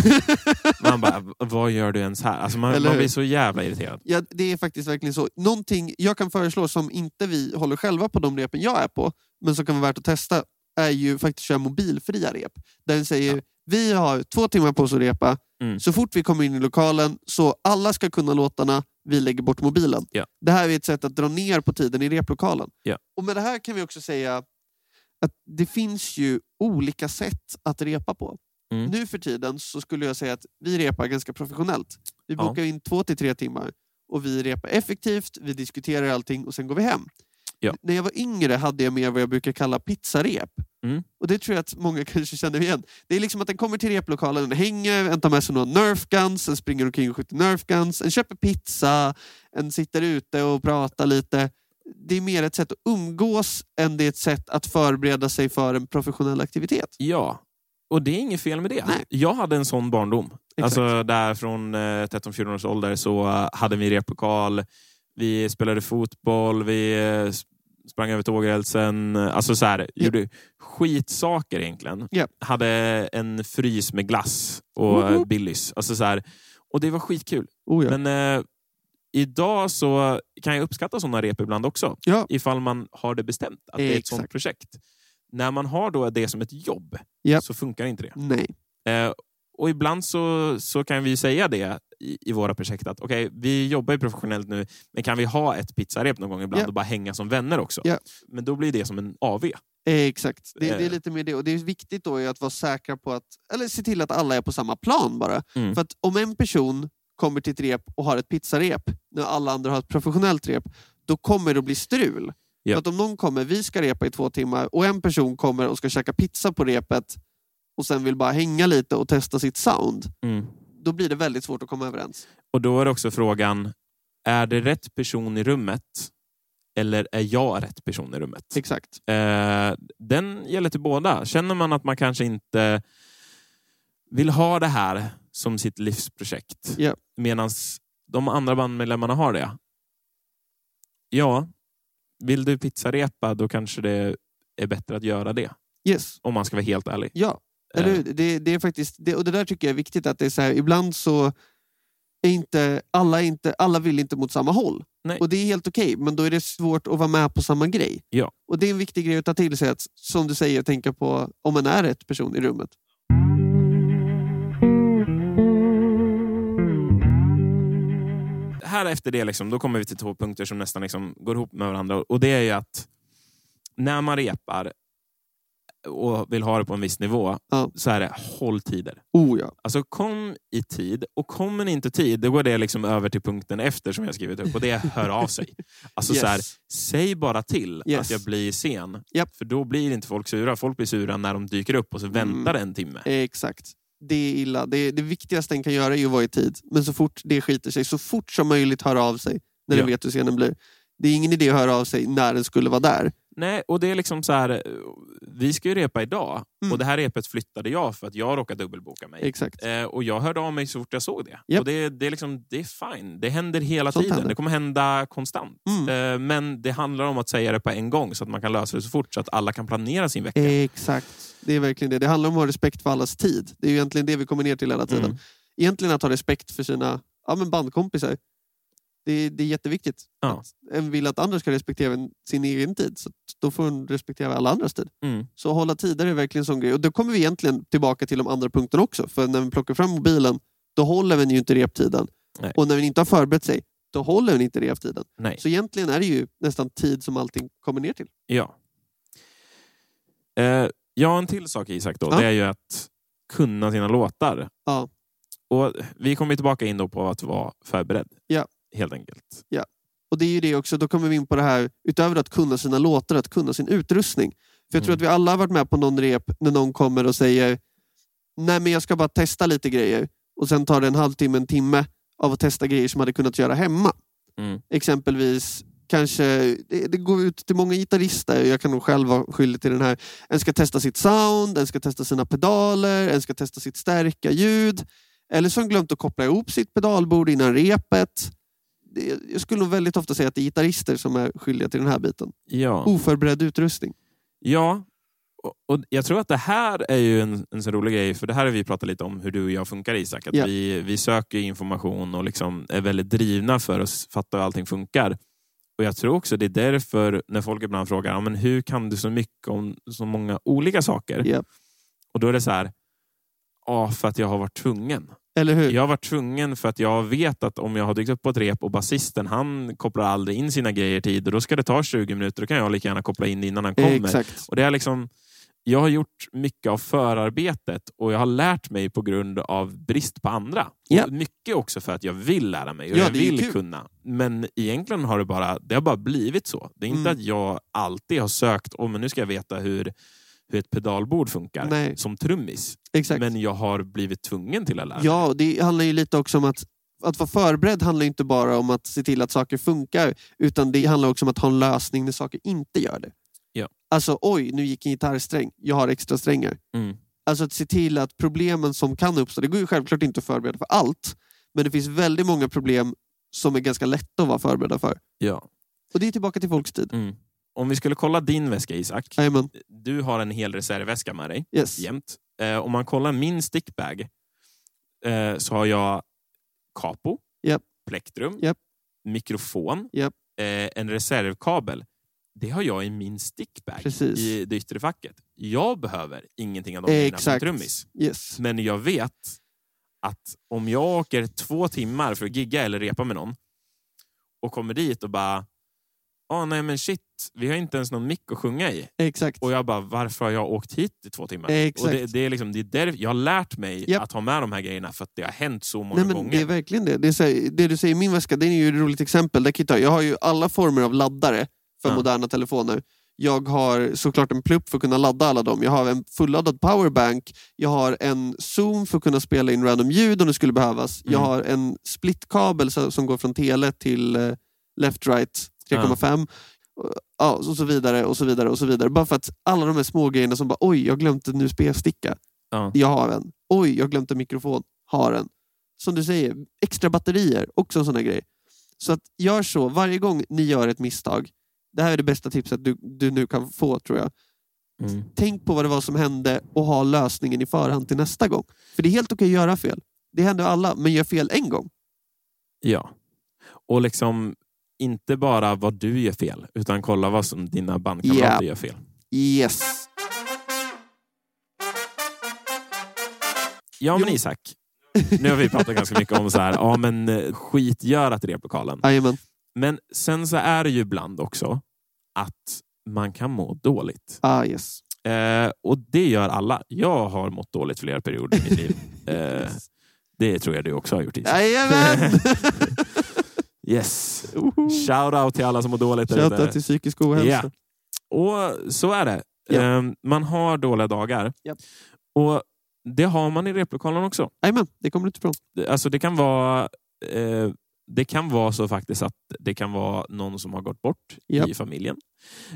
B: Man bara, "V- vad gör du ens här? Alltså man,
A: Eller
B: man
A: hur?
B: blir så jävla irriterad.
A: Ja, det är faktiskt verkligen så. Någonting jag kan föreslå som inte vi håller själva på de repen jag är på, men som kan vara värt att testa, är ju faktiskt köra mobilfria rep. Där den säger vi har två timmar på oss att repa.
B: Mm.
A: Så fort vi kommer in i lokalen så alla ska kunna låtarna, vi lägger bort mobilen.
B: Ja.
A: Det här är ett sätt att dra ner på tiden i replokalen.
B: Ja.
A: Och med det här kan vi också säga att det finns ju olika sätt att repa på.
B: Mm.
A: Nu för tiden så skulle jag säga att vi repar ganska professionellt. Vi
B: Ja.
A: bokar in två till tre timmar och vi repar effektivt, vi diskuterar allting och sen går vi hem.
B: Ja.
A: N- När jag var yngre hade jag mer vad jag brukar kalla pizzarep.
B: Mm.
A: Och det tror jag att många kanske känner igen. Det är liksom att den kommer till replokalen, den hänger, en tar med sig några nerf guns, en springer omkring och skjuter nerf guns, en köper pizza, en sitter ute och pratar lite. Det är mer ett sätt att umgås än det är ett sätt att förbereda sig för en professionell aktivitet.
B: Ja, och det är inget fel med det.
A: Nej.
B: Jag hade en sån barndom.
A: Exakt.
B: Alltså där från eh, 13-14 års ålder så eh, hade vi replokal, vi spelade fotboll, vi eh, sp- sprang över tågrälsen. Alltså så här, gjorde skitsaker egentligen.
A: Ja.
B: Hade en frys med glass och eh,
A: Woho!
B: Billys. Alltså så här, och det var skitkul.
A: Oh ja.
B: Men eh, idag så kan jag uppskatta sådana rep ibland också.
A: Ja.
B: Ifall man har det bestämt att det är ett
A: Exakt.
B: sådant projekt. När man har då det som ett jobb
A: Ja.
B: så funkar inte det.
A: Nej.
B: Eh, och ibland så, så kan vi ju säga det i, i våra projekt att okej, vi jobbar ju professionellt nu, men kan vi ha ett pizzarep någon gång ibland
A: Ja.
B: och bara hänga som vänner också?
A: Ja.
B: Men då blir det som en AV.
A: Eh, exakt. Det, det är
B: Eh.
A: lite mer det. Och det är viktigt då är att vara säkra på att, eller se till att alla är på samma plan bara.
B: Mm.
A: För att om en person kommer till ett rep och har ett pizzarep när alla andra har ett professionellt rep, då kommer det att bli strul.
B: Ja.
A: För att om någon kommer, vi ska repa i två timmar och en person kommer och ska käka pizza på repet och sen vill bara hänga lite Mm. och testa sitt sound, då blir det väldigt svårt att komma överens.
B: Och då är det också frågan, Är det rätt person i rummet? Eller är jag rätt person i rummet?
A: Exakt.
B: Eh, den gäller till båda. Känner man att man kanske inte vill ha det här som sitt livsprojekt
A: Ja.
B: medan de andra bandmedlemmarna har det. Ja, vill du pizzarepa då kanske det är bättre att göra det.
A: Yes.
B: Om man ska vara helt ärlig.
A: Ja, eller
B: Eh,
A: hur? Det, det är faktiskt, det, och det där tycker jag är viktigt att det är så här, ibland så är inte alla, är inte, alla vill inte mot samma håll.
B: Nej.
A: Och det är helt okej, men då är det svårt att vara med på samma grej.
B: Ja.
A: Och det är en viktig grej att ta till sig, att, som du säger, tänka på om man är rätt person i rummet.
B: här efter det liksom, då kommer vi till två punkter som nästan liksom går ihop med varandra. Och det är ju att när man repar och vill ha det på en viss nivå
A: Ja.
B: så är det håll tider.
A: Oh ja.
B: Alltså kom i tid och kommer ni inte i tid då går det liksom över till punkten efter som jag skrivit upp och det är hör av sig. Alltså
A: Yes.
B: så här, säg bara till att
A: Yes.
B: jag blir sen.
A: Japp. Mm.
B: För då blir inte folk sura. Folk blir sura när de dyker upp och så väntar det en timme.
A: Exakt. Det är illa. Det, det viktigaste en kan göra är ju att vara i tid. Men så fort det skiter sig, så fort som möjligt höra av sig när
B: Ja.
A: du vet hur scenen blir. Det är ingen idé att höra av sig när den skulle vara där.
B: Nej, och det är liksom så här, vi ska ju repa idag
A: Mm.
B: och det här repet flyttade jag för att jag råkade dubbelboka mig.
A: Exakt.
B: Eh, och jag hörde av mig så fort jag såg det.
A: Japp.
B: Och det, det, är liksom, det är fine. Det händer hela
A: Sånt
B: tiden.
A: händer.
B: Det kommer hända konstant.
A: Mm.
B: Eh, men det handlar om att säga det på en gång så att man kan lösa det så fort så att alla kan planera sin vecka.
A: Eh, Exakt. Det är verkligen det. Det handlar om att ha respekt för allas tid. Det är ju egentligen det vi kommer ner till hela tiden.
B: Mm.
A: Egentligen att ha respekt för sina ja, men bandkompisar. Det, det är jätteviktigt.
B: Ja.
A: En vill att andra ska respektera en- sin egen tid. Så att då får en respektera alla andras tid.
B: Mm.
A: Så hålla tider är verkligen en sån grej. Och då kommer vi egentligen tillbaka till de andra punkterna också. För när vi plockar fram mobilen, då håller vi ju inte reptiden.
B: Nej.
A: Och när vi inte har förberett sig, då håller vi inte reptiden.
B: Nej.
A: Så egentligen är det ju nästan tid som allting kommer ner till.
B: Ja. Eh, ja, en till sak Isak då.
A: Ja.
B: Det är ju att kunna sina låtar.
A: Ja.
B: Och vi kommer ju tillbaka in då på att vara förberedd.
A: Ja.
B: Helt enkelt.
A: Och det är ju det också, då kommer vi in på det här, utöver att kunna sina låtar, att kunna sin utrustning. För jag tror
B: Mm.
A: att vi alla har varit med på någon rep när någon kommer och säger Nej men jag ska bara testa lite grejer. Och sen tar det en halvtimme, en timme av att testa grejer som hade kunnat göra hemma.
B: Mm.
A: Exempelvis kanske, det, det går ut till många gitarrister, jag kan nog själv vara skyldig till den här. En ska testa sitt sound, en ska testa sina pedaler, en ska testa sitt stärka ljud. Eller som glömt att koppla ihop sitt pedalbord innan repet. Det, jag skulle nog väldigt ofta säga att det är gitarrister som är skyldiga till den här biten.
B: Ja.
A: Oförberedd utrustning.
B: Ja, och, och jag tror att det här är ju en, en så rolig grej, för det här har vi pratat lite om hur du och jag funkar Isak. Att
A: Ja.
B: vi, vi söker information och liksom är väldigt drivna för att s- fatta hur allting funkar. Och Jag tror också det är därför när folk ibland frågar ja, men hur kan du så mycket om så många olika saker?
A: Ja.
B: Och då är det så här, ja för att jag har varit tvungen.
A: Eller hur?
B: Jag har varit tvungen för att jag vet att om jag har dykt upp på ett rep och basisten han kopplar aldrig in sina grejer i tid och då ska det ta 20 minuter. Då kan jag lika gärna koppla in innan han kommer.
A: Eh, Exakt.
B: Och det är liksom, jag har gjort mycket av förarbetet och jag har lärt mig på grund av brist på andra.
A: Ja.
B: Och mycket också för att jag vill lära mig och
A: Ja,
B: jag
A: det är ju
B: vill
A: kul.
B: kunna. Men egentligen har det bara, det har bara blivit så. Det är inte
A: Mm.
B: att jag alltid har sökt, oh, men nu ska jag veta hur, hur ett pedalbord funkar
A: Nej.
B: som trummis.
A: Exakt.
B: Men jag har blivit tvungen till att lära mig.
A: Ja, och det handlar ju lite också om att att vara förberedd handlar ju inte bara om att se till att saker funkar utan det handlar också om att ha en lösning när saker inte gör det.
B: Ja.
A: Alltså, oj, nu gick en gitarrsträng. Jag har extra strängar.
B: Mm.
A: Alltså att se till att problemen som kan uppstå, det går ju självklart inte att förbereda för allt, men det finns väldigt många problem som är ganska lätta att vara förberedda för.
B: Ja.
A: Och det är tillbaka till folks tid.
B: Mm. Om vi skulle kolla din väska Isak.
A: Jajamän.
B: Du har en hel reservväska med dig.
A: Yes.
B: jämt. Eh, om man kollar min stickbag eh, så har jag capo,
A: Japp.
B: plektrum,
A: Japp.
B: mikrofon,
A: Japp.
B: eh, en reservkabel. Det har jag i min stickbag
A: Precis.
B: i det yttre facket. Jag behöver ingenting av de grejerna som
A: Exakt.
B: trummis.
A: Yes.
B: Men jag vet att om jag åker två timmar för att gigga eller repa med någon och kommer dit och bara ah, nej men shit, vi har inte ens någon mick att sjunga i.
A: Exakt.
B: Och jag bara, varför har jag åkt hit i två timmar?
A: Exakt.
B: Och det, det är liksom, det är där, jag har lärt mig
A: Japp.
B: att ha med de här grejerna för att det har hänt så många
A: Nej, men
B: gånger.
A: det är verkligen det. Det, är så här, det du säger, min väska, det är ju ett roligt exempel. Där kan jag, ta, jag har ju alla former av laddare för
B: Ja.
A: moderna telefoner. Jag har såklart en plupp för att kunna ladda alla dem. Jag har en fulladdad powerbank. Jag har en zoom för att kunna spela in random ljud om det skulle behövas. Jag
B: Mm.
A: har en splittkabel så- som går från tele till eh, left right 3,5. Och- Ja, och så vidare och så vidare och så vidare. Bara för att alla de här små grejerna som bara oj, jag glömde en USB-sticka.
B: Ja.
A: Jag har en. Oj, jag glömde en mikrofon. Har en. Som du säger, extra batterier. Också en sån här grej. Så att gör så varje gång ni gör ett misstag. Det här är det bästa tipset du, du nu kan få tror jag.
B: Mm.
A: Tänk på vad det var som hände och ha lösningen i förhand till nästa gång. För det är helt okej att göra fel. Det händer alla, men gör fel en gång.
B: Ja. Och liksom inte bara vad du gör fel, utan kolla vad som dina bandkamrater
A: Ja.
B: gör fel.
A: Yes!
B: Ja, men
A: Jo.
B: Isak. Nu har vi pratat ganska mycket om så här, ja men eh, skitgöra till replokalen.
A: Jajamän.
B: Men sen så är det ju ibland också att man kan må dåligt.
A: Ah, yes.
B: Eh, och det gör alla. Jag har mått dåligt flera perioder i mitt liv. Eh, det tror jag du också har gjort Isak.
A: Jajamän!
B: Yes. Shout out till alla som mår dåligt. där ute.
A: Shoutout till psykisk ohälsa.
B: Ja. Och så är det.
A: Ja.
B: Ehm, Man har dåliga dagar.
A: Japp.
B: Och det har man i replokalen också.
A: Jajamän, det kommer du inte ifrån.
B: Det- Alltså det kan vara eh, det kan vara så faktiskt att det kan vara någon som har gått bort
A: Japp.
B: i familjen.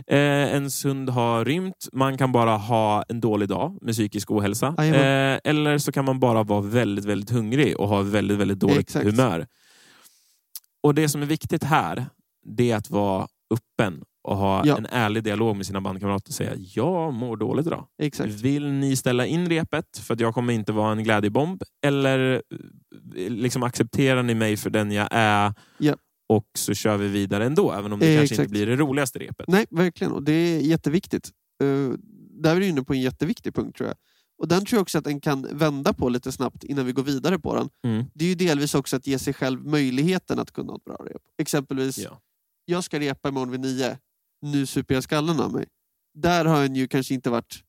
B: Eh, en hund har rymt. Man kan bara ha en dålig dag med psykisk ohälsa.
A: Jajamän.
B: Eh, eller så kan man bara vara väldigt, väldigt hungrig och ha väldigt, väldigt dåligt
A: Exakt.
B: humör. Och det som är viktigt här, det är att vara öppen och ha
A: Ja.
B: en ärlig dialog med sina bandkamrater och säga jag mår dåligt idag.
A: Exakt.
B: Vill ni ställa in repet för att jag kommer inte vara en glädjebomb? Eller eh, liksom accepterar ni mig för den jag är
A: Ja.
B: och så kör vi vidare ändå, även om det
A: Eh,
B: kanske
A: exakt.
B: inte blir det roligaste repet.
A: Nej, verkligen. Och det är jätteviktigt. Eh, där är du inne på en jätteviktig punkt tror jag. Och den tror jag också att en kan vända på lite snabbt innan vi går vidare på den.
B: Mm.
A: Det är ju delvis också att ge sig själv möjligheten att kunna ha ett bra rep. Exempelvis,
B: Ja.
A: jag ska repa imorgon vid nio. Nu super jag skallen av mig. Där har en ju kanske inte varit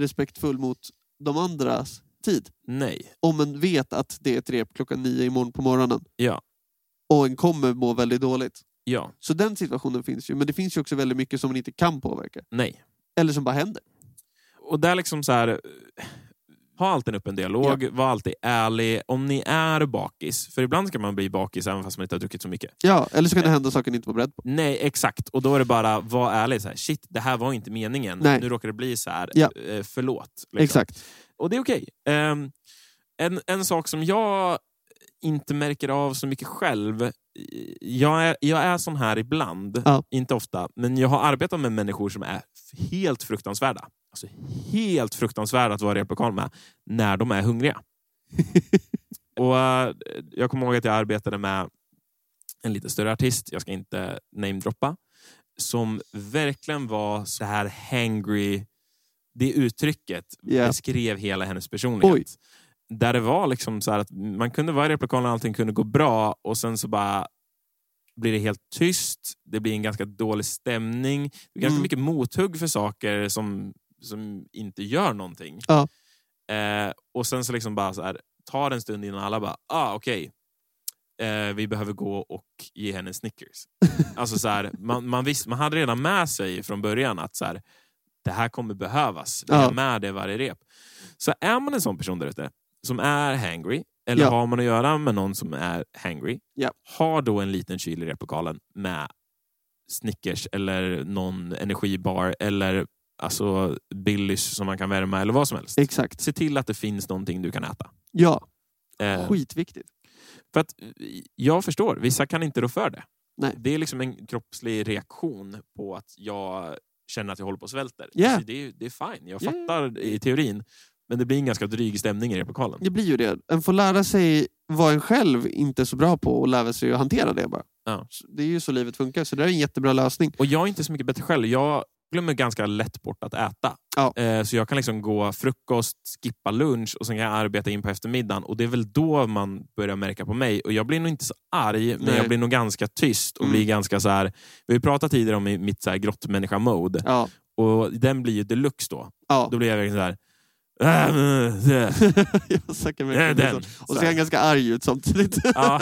A: respektfull mot de andras tid.
B: Nej.
A: Om en vet att det är ett rep klockan nio imorgon på morgonen.
B: Ja.
A: Och en kommer må väldigt dåligt.
B: Ja.
A: Så den situationen finns ju. Men det finns ju också väldigt mycket som man inte kan påverka.
B: Nej.
A: Eller som bara händer.
B: Och där liksom så här... eh, Ha alltid en öppen dialog, var alltid ärlig. Om ni är bakis, för ibland kan man bli bakis även fast man inte har druckit så mycket.
A: Ja, eller så
B: Eh.
A: kan det hända saker ni inte var beredd på.
B: Nej, exakt. Och då är det bara, var ärlig. Så här, Shit, det här var inte meningen.
A: Nej.
B: Nu råkar det bli så här.
A: Ja.
B: Eh, Förlåt. liksom.
A: Exakt.
B: Och det är okej. Ehm, en, en sak som jag inte märker av så mycket själv. eh, Jag är, jag är sån här ibland,
A: Ja.
B: inte ofta, men jag har arbetat med människor som är helt fruktansvärda. Alltså helt fruktansvärda att vara i replokal med när de är hungriga. och eh, Jag kommer ihåg att jag arbetade med en lite större artist, jag ska inte namedroppa, som verkligen var så här hangry. Det uttrycket
A: Ja.
B: beskrev hela hennes personlighet.
A: Oj.
B: Där det var liksom så här att man kunde vara i replokalen och allting kunde gå bra och sen så bara blir det helt tyst. Det blir en ganska dålig stämning. Det är ganska
A: Mm.
B: mycket mothugg för saker som, som inte gör någonting.
A: Ja.
B: Eh, och sen så liksom bara så här, tar det en stund innan alla bara, ah okej, eh, vi behöver gå och ge henne en Snickers. alltså så här, man, man, visst, man hade redan med sig från början att så här, det här kommer behövas. Vi
A: Ja.
B: har med det i varje rep. Så är man en sån person där ute som är hangry, eller
A: Ja.
B: har man att göra med någon som är hangry,
A: Ja.
B: ha då en liten kyl i replokalen med Snickers eller någon energibar eller alltså Billys som man kan värma eller vad som helst.
A: Exakt.
B: Se till att det finns någonting du kan äta.
A: Ja,
B: Eh,
A: skitviktigt.
B: för att eh, jag förstår, vissa kan inte rå för det.
A: Nej.
B: Det är liksom en kroppslig reaktion på att jag känner att jag håller på och svälter.
A: Yeah.
B: Alltså, det, är, det är fine, jag
A: Yeah.
B: fattar i teorin. Men det blir en ganska dryg stämning i replokalen.
A: Det blir ju det. En får lära sig vad en själv inte är så bra på och lära sig att hantera det bara.
B: Ja.
A: Så Det är ju så livet funkar, så det är en jättebra lösning.
B: Och jag är inte så mycket bättre själv. Jag glömmer ganska lätt bort att äta.
A: Ja.
B: Eh, Så jag kan liksom gå frukost, skippa lunch och sen kan jag arbeta in på eftermiddagen. Och det är väl då man börjar märka på mig. Och jag blir nog inte så arg, men
A: Nej.
B: jag blir nog ganska tyst. Och
A: Mm.
B: blir ganska så här, vi har ju pratat tidigare om i- mitt så här grottmänniska-mode.
A: Ja.
B: Och den blir ju deluxe då.
A: ja.
B: Då blir jag verkligen så här... "Äh, men, det,
A: jag söker
B: det är
A: verkligen
B: den.
A: så. Och så ser han ganska arg ut samtidigt.
B: Ja.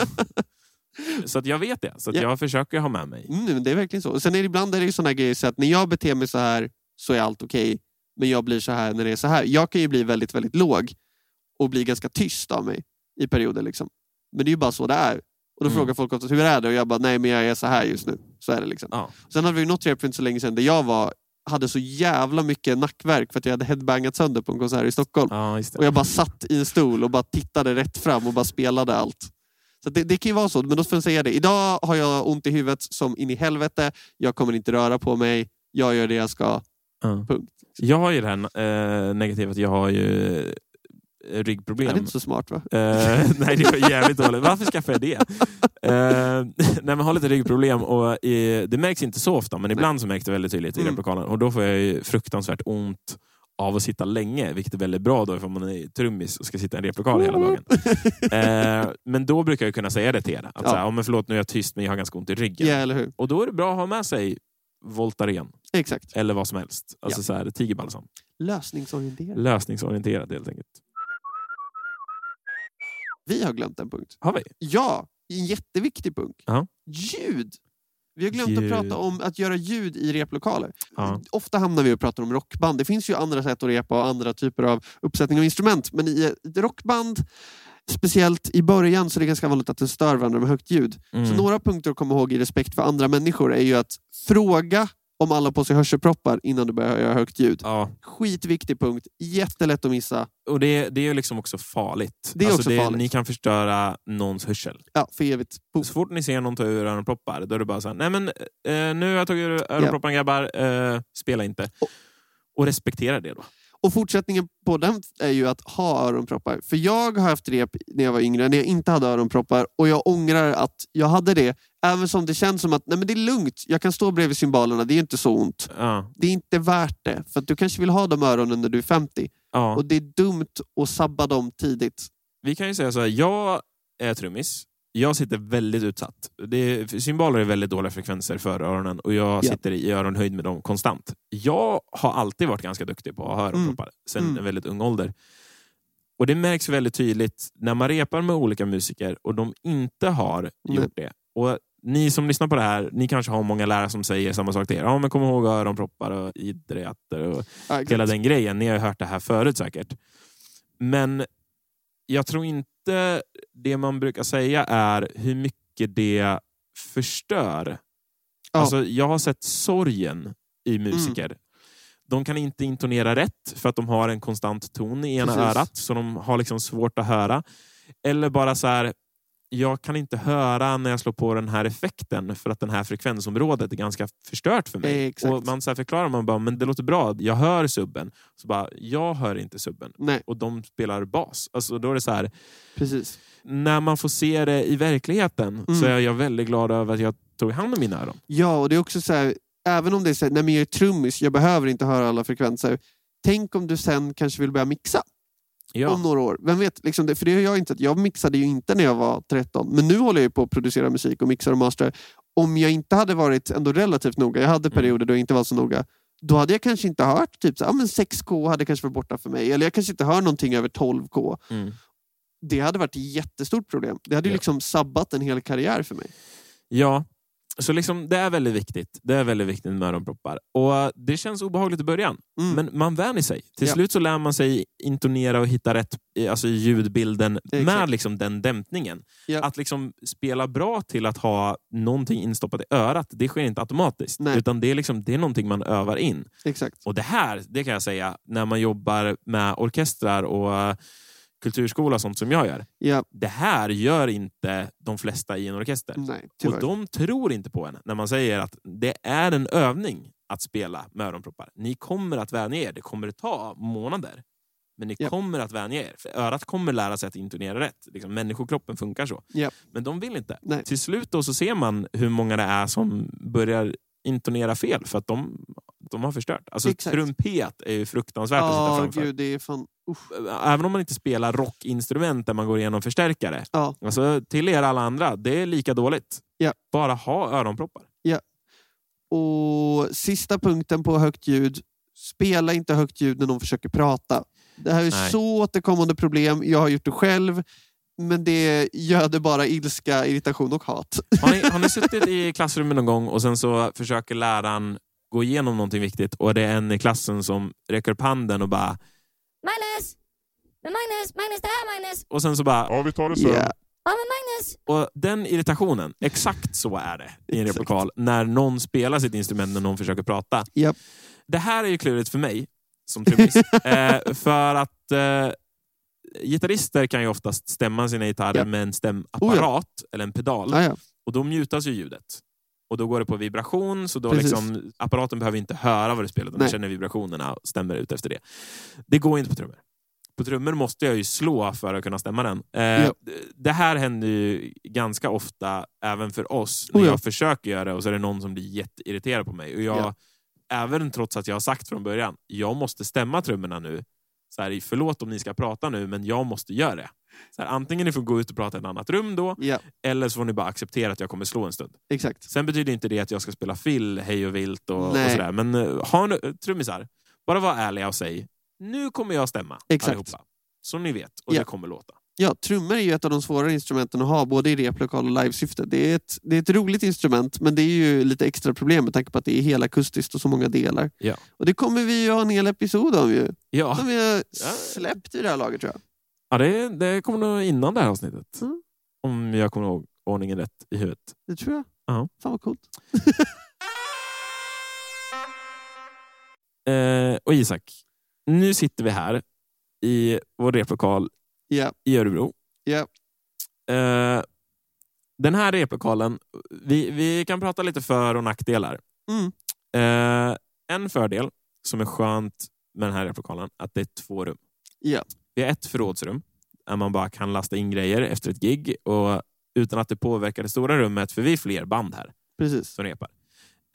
B: Så att jag vet det. Så att
A: Ja.
B: jag försöker ha med mig.
A: Mm, men det är verkligen så. Sen är det ibland är det ju såna här grejer så att när jag beter mig så här så är allt okej. men jag blir så här när det är så här. Jag kan ju bli väldigt, väldigt låg och bli ganska tyst av mig i perioder. Liksom. Men det är ju bara så det är. Och då
B: Mm.
A: frågar folk ofta hur är det? Och jag bara, nej men jag är så här just nu. Så är det liksom.
B: Ja.
A: Sen hade vi ju något rep för inte så länge sedan där jag var, hade så jävla mycket nackverk för att jag hade headbangat sönder på en konsert i Stockholm.
B: Ja, just
A: Och
B: det.
A: jag bara satt i en stol och bara tittade rätt fram och bara spelade allt. Så att det, det kan ju vara så, men då får jag säga det. Idag har jag ont i huvudet som in i helvete. Jag kommer inte röra på mig. Jag gör det jag ska.
B: Ja.
A: punkt.
B: Jag har ju det här eh, negativa att jag har ju eh,
A: Det är
B: ryggproblem.
A: inte så smart va?
B: Eh, nej, det var jävligt dåligt. Varför skaffade jag det? Eh, nej, men har lite ryggproblem och eh, det märks inte så ofta, men ibland så märks det väldigt tydligt i
A: Mm.
B: replokalen. Och då får jag ju fruktansvärt ont av att sitta länge, vilket är väldigt bra då ifall man är trummis och ska sitta i en replokal hela dagen. Eh, men då brukar jag kunna säga det till er. Att
A: Ja.
B: så här, "Ja, men förlåt, nu är jag tyst, men jag har ganska ont i
A: Ja,
B: ryggen.
A: eller hur?
B: Och då är det bra att ha med sig Voltaren
A: Exakt.
B: eller vad som helst. Alltså så här, tigerbalsam.
A: Lösningsorienterad.
B: Lösningsorienterat helt enkelt.
A: Vi har glömt en punkt.
B: Har vi?
A: Ja, en jätteviktig punkt.
B: Ja.
A: Ljud! Vi har glömt
B: Ljud.
A: att prata om att göra ljud i replokaler.
B: Ja.
A: Ofta hamnar vi och pratar om rockband. Det finns ju andra sätt att repa och andra typer av uppsättning av instrument. Men i ett rockband, speciellt i början, så är det ganska vanligt att den stör varandra med högt ljud.
B: Mm.
A: Så några punkter att komma ihåg i respekt för andra människor är ju att fråga om alla har på sig hörselproppar innan du börjar göra högt ljud.
B: Ja,
A: Skitviktig punkt. Jättelätt att missa.
B: och det, det är ju liksom också farligt. Alltså
A: Det är också farligt.
B: Ni kan förstöra någons hörsel.
A: Ja, för evigt. Poof.
B: Så fort ni ser någon ta ur öronproppar, då är det bara så här, nej men eh, nu har jag tagit ur öronproppen grabbar, eh, spela inte.
A: Och-
B: Och respektera det då.
A: Och fortsättningen på den är ju att ha öronproppar. För jag har haft rep när jag var yngre, när jag inte hade öronproppar och jag ångrar att jag hade det. Även som det känns som att nej men det är lugnt, jag kan stå bredvid cymbalerna, det är inte så ont.
B: Ja,
A: Det är inte värt det, för att du kanske vill ha de öronen när du är 50.
B: ja.
A: Och det är dumt att sabba dem tidigt.
B: Vi kan ju säga så här, jag är trummis. Jag sitter väldigt utsatt. Det, symboler är väldigt dåliga frekvenser för öronen och jag
A: Ja.
B: sitter i öronhöjd med dem konstant. Jag har alltid varit ganska duktig på att ha öronproppar sen
A: Mm.
B: en väldigt ung ålder. Och Det märks väldigt tydligt när man repar med olika musiker och de inte har
A: Mm.
B: gjort det. Och ni som lyssnar på det här, ni kanske har många lärare som säger samma sak till er. Ja, men kom ihåg öronproppar och idreatter och
A: Ja, exakt.
B: hela den grejen. Ni har ju hört det här förut säkert. Men jag tror inte det man brukar säga är hur mycket det förstör.
A: Ja. Mm.
B: Alltså, jag har sett sorgen i musiker. De kan inte intonera rätt för att de har en konstant ton i ena
A: Precis.
B: örat så de har liksom svårt att höra. Eller bara så här, jag kan inte höra när jag slår på den här effekten för att den här frekvensområdet är ganska förstört för mig.
A: Exakt.
B: Och man så här förklarar man bara, men det låter bra, jag hör subben. Så bara, jag hör inte subben.
A: Nej,
B: Och de spelar bas. Alltså, då är det så här,
A: precis.
B: när man får se det i verkligheten så är jag väldigt glad över att jag tog hand om mina öron.
A: Ja, och det är också så här, även om det är så här, nej men jag är trummis, jag behöver inte höra alla frekvenser. Tänk om du sen kanske vill börja mixa.
B: Ja.
A: om några år. Vem vet? Liksom det, för det har jag inte. Jag mixade ju inte när jag var 13. Men nu håller jag ju på att producera musik och mixar och masterar. Om jag inte hade varit ändå relativt noga, jag
B: Mm.
A: hade perioder då jag inte var så noga. Då hade jag kanske inte hört typ så, här, ah, men 6K hade kanske varit borta för mig. Eller jag kanske inte hör någonting över 12K.
B: Mm.
A: Det hade varit ett jättestort problem. Det hade ju
B: Ja.
A: liksom sabbat en hel karriär för mig.
B: Ja, så liksom, det är väldigt viktigt. Det är väldigt viktigt med öronproppar. Och eh, det känns obehagligt i början,
A: Mm.
B: men man vänjer sig. Till
A: Ja.
B: slut så lär man sig intonera och hitta rätt i- alltså i ljudbilden
A: Exakt.
B: med liksom den dämpningen.
A: Ja.
B: Att liksom spela bra till att ha någonting instoppat i örat, det sker inte automatiskt.
A: Nej.
B: Utan det är, liksom, det är någonting man övar in.
A: Exakt.
B: Och det här, det kan jag säga, när man jobbar med orkestrar och eh, kulturskola och sånt som jag gör.
A: Ja,
B: Det här gör inte de flesta i en orkester.
A: nej,
B: Och
A: tyvärr.
B: de tror inte på en när man säger att det är en övning att spela med öronproppar. Ni kommer att vänja er. Det kommer att ta månader. Men ni
A: Japp.
B: kommer att vänja er. För örat kommer lära sig att intonera rätt. Liksom, människokroppen funkar så.
A: Japp.
B: Men de vill inte.
A: Nej.
B: Till slut då så ser man hur många det är som börjar intonera fel för att de, de har förstört. Alltså,
A: Exakt.
B: trumpet är ju fruktansvärt att sitta
A: Ja,
B: framför.
A: gud, det är fan... Usch.
B: Även om man inte spelar rockinstrument där man går igenom förstärkare.
A: Ja.
B: Alltså, till er alla andra, det är lika dåligt.
A: Ja.
B: Bara ha öronproppar.
A: Och sista punkten på högt ljud. Spela inte högt ljud när någon försöker prata. Det här är
B: Nej.
A: så återkommande problem. Jag har gjort det själv. men det göder bara ilska, irritation och hat.
B: Har ni, har ni suttit i klassrummet någon gång och sen så försöker läraren gå igenom någonting viktigt och det är en i klassen som räcker upp handen och bara...
C: Magnus! Men Magnus, Magnus det här Magnus!
B: Och sen så bara...
D: Ja, vi tar det sen.
A: Ja,
C: Ja men Magnus!
B: Och den irritationen, exakt så är det i en
A: Exakt.
B: replokal. När någon spelar sitt instrument när någon försöker prata.
A: Japp.
B: Det här är ju klurigt för mig som trummis. eh, för att eh, gitarrister kan ju oftast stämma sina gitarrer
A: Japp.
B: med en
A: Oh,
B: stämapparat eller en pedal.
A: ja, ja.
B: Och då mutas ju ljudet. Och då går det på vibration, så då
A: Precis.
B: liksom, apparaten behöver inte höra vad du spelar, utan den
A: Nej.
B: känner vibrationerna och stämmer ut efter det. Det går inte på trummor. På trummor måste jag ju slå för att kunna stämma den. Eh,
A: Ja.
B: d- Det här händer ju ganska ofta även för oss, när
A: Oh ja.
B: jag försöker göra det och så är det någon som blir jätteirriterad på mig. Och jag,
A: Ja.
B: Även trots att jag har sagt från början, jag måste stämma trummorna nu. Så här, förlåt om ni ska prata nu, men jag måste göra det. Så här, antingen ni får gå ut och prata i ett annat rum då,
A: ja
B: eller så får ni bara acceptera att jag kommer slå en stund.
A: exakt.
B: Sen betyder inte det att jag ska spela fill hej och vilt och, och
A: Nej.
B: sådär. Men eh, ha en, eh, trummisar, bara var ärliga och säg nu kommer jag stämma
A: Exakt.
B: allihopa. Som ni vet, och
A: Ja.
B: det kommer låta.
A: Ja, trummor är ju ett av de svårare instrumenten att ha, både i replokal och livesyfte. Det är, ett, det är ett roligt instrument, men det är ju lite extra problem med tanke på att det är helakustiskt och så många delar.
B: Ja.
A: Och det kommer vi ju ha en hel episod om ju,
B: Ja,
A: som vi har
B: Ja.
A: släppt i det här laget tror jag.
B: ja det, det kommer nog innan det här avsnittet.
A: Mm.
B: Om jag kommer ihåg ordningen rätt i huvudet.
A: Det tror jag.
B: Ja.
A: Fan vad coolt.
B: Eh, och Isak, nu sitter vi här i vår replokal
A: Ja,
B: i Örebro.
A: Ja.
B: Eh, den här replokalen, vi, vi kan prata lite för och nackdelar.
A: mm.
B: Eh, en fördel som är skönt med den här replokalen, att det är två rum.
A: Ja.
B: Vi har ett förrådsrum där man bara kan lasta in grejer efter ett gig och utan att det påverkar det stora rummet, för vi är fler band här
A: precis.
B: som repar.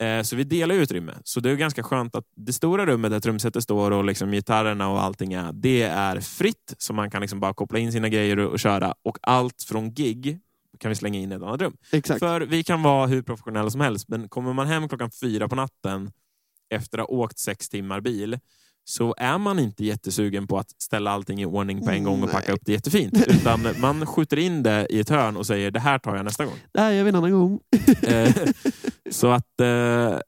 B: Eh, så vi delar utrymme. Så det är ganska skönt att det stora rummet där trumsetet står och liksom gitarrerna och allting är, det är fritt. Så man kan liksom bara koppla in sina grejer och, och köra. Och allt från gig kan vi slänga in i ett annat rum.
A: Exakt.
B: För vi kan vara hur professionella som helst, men kommer man hem klockan fyra på natten efter att ha åkt sex timmar bil så är man inte jättesugen på att ställa allting i ordning på en gång och
A: Nej.
B: packa upp det jättefint. Utan man skjuter in det i ett hörn och säger det här tar jag nästa gång.
A: Det här gör vi en annan gång.
B: Eh, så att eh,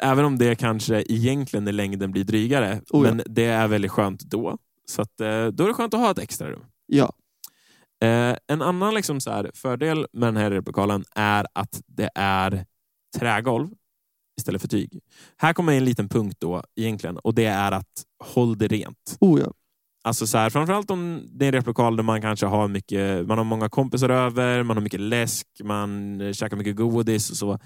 B: även om det kanske egentligen i längden blir drygare,
A: Oh ja.
B: men det är väldigt skönt då. Så att, eh, då är det skönt att ha ett extra rum.
A: Ja,
B: Eh, en annan liksom så här, fördel med den här replokalen är att det är trägolv istället för tyg. Här kommer en liten punkt då egentligen och det är att håll det rent.
A: oh ja.
B: Alltså så här, framförallt om det är en replokal där man kanske har mycket, man har många kompisar över, man har mycket läsk, man eh, käkar mycket godis och så.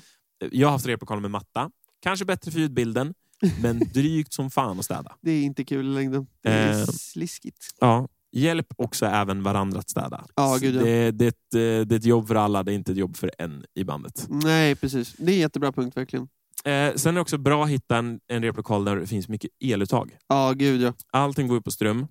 B: Jag har haft replokaler med matta. Kanske bättre för ljudbilden, men drygt som fan att städa.
A: Det är inte kul i längden. Det är
B: Eh.
A: sliskigt.
B: Ja. Hjälp också även varandra att städa.
A: Ja, gud, ja.
B: det, det, är ett, eh, det är ett jobb för alla, det är inte ett jobb för en i bandet.
A: Nej, precis. Det är en jättebra punkt verkligen.
B: Eh, sen är det också bra att hitta en, en replokal där det finns mycket eluttag.
A: Ja, gud ja.
B: Allting går ju på ström.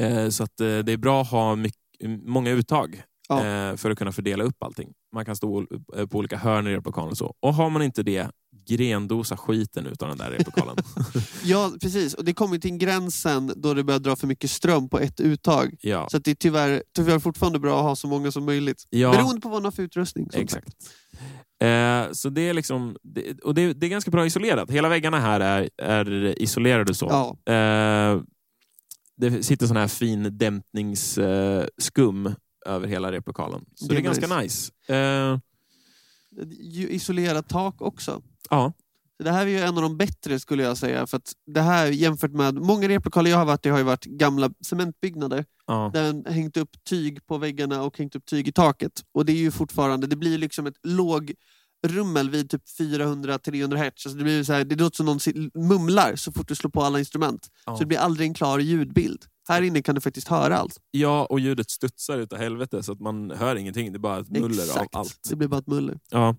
B: Eh, så att, eh, det är bra att ha mycket, många uttag
A: Ja.
B: eh, för att kunna fördela upp allting. Man kan stå ol- eh, på olika hörn i replokalen och så. Och har man inte det, grendosa skiten utav den där replokalen.
A: Ja, precis. Och det kommer ju till gränsen då det börjar dra för mycket ström på ett uttag.
B: ja.
A: Så att det är tyvärr, tyvärr fortfarande bra att ha så många som möjligt.
B: Ja.
A: Beroende på vad man har för utrustning. som sagt.
B: Exakt. Eh, så det är liksom, det, och det, det är ganska bra isolerat. Hela väggarna här är, är isolerade så.
A: Ja,
B: Eh, det sitter sån här fin dämpningsskum eh, skum över hela replokalen. Så det
A: Det
B: är,
A: är
B: ganska nice. Eh,
A: ju isolerat tak också.
B: ja,
A: Så Det här är ju en av de bättre skulle jag säga. För att det här jämfört med många replokaler jag har varit i har ju varit gamla cementbyggnader.
B: ja,
A: Där man hängt upp tyg på väggarna och hängt upp tyg i taket. Och det är ju fortfarande, det blir liksom ett låg rummel vid typ 400-300 hertz. Alltså det, blir så här, det låter som någon si- mumlar så fort du slår på alla instrument.
B: Ja.
A: Så det blir aldrig en klar ljudbild. Här inne kan du faktiskt höra allt.
B: ja, och ljudet studsar utav helvete så att man hör ingenting. Det är bara ett muller
A: Exakt.
B: av allt.
A: Det blir bara ett muller.
B: Ja.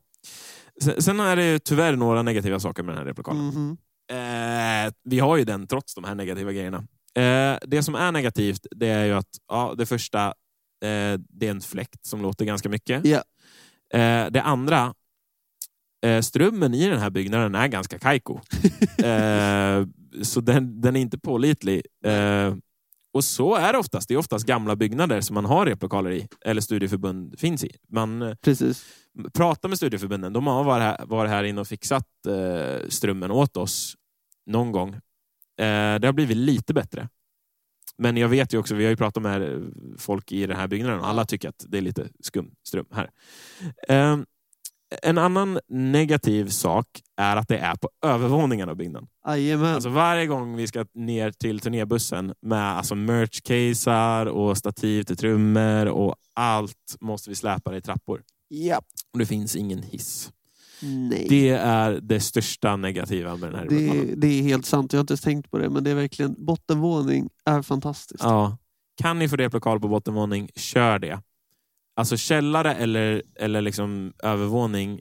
B: Sen, sen är det ju tyvärr några negativa saker med den här replokalen.
A: Mhm.
B: Eh, vi har ju den trots de här negativa grejerna. Eh, det som är negativt det är ju att ja, det första, eh, det är en fläkt som låter ganska mycket.
A: Ja.
B: Eh, det andra, eh, strömmen i den här byggnaden är ganska kajko. eh, så den, den är inte pålitlig. Eh, och Och så är det oftast. Det är oftast gamla byggnader som man har replokaler i, eller studieförbund finns i. Man eh,
A: Precis.
B: pratar med studieförbunden. De har varit här, varit här inne och fixat eh, strömmen åt oss någon gång. Eh, det har blivit lite bättre. Men jag vet ju också, vi har ju pratat med eh, folk i den här byggnaden och alla tycker att det är lite skum ström här. Eh, en annan negativ sak är att det är på övervåningen av byggnaden.
A: Jajamän.
B: Alltså varje gång vi ska ner till turnébussen med alltså merch-casear och stativ till trummor och allt måste vi släpa det i trappor.
A: Japp.
B: Och det finns ingen hiss.
A: Nej. Det,
B: Det är det största negativa med den här
A: det, är helt sant. Jag har inte ens tänkt på det, men det är verkligen bottenvåning är fantastiskt.
B: Ja. Kan ni få replokal på bottenvåning, kör det. Alltså källare eller, eller liksom övervåning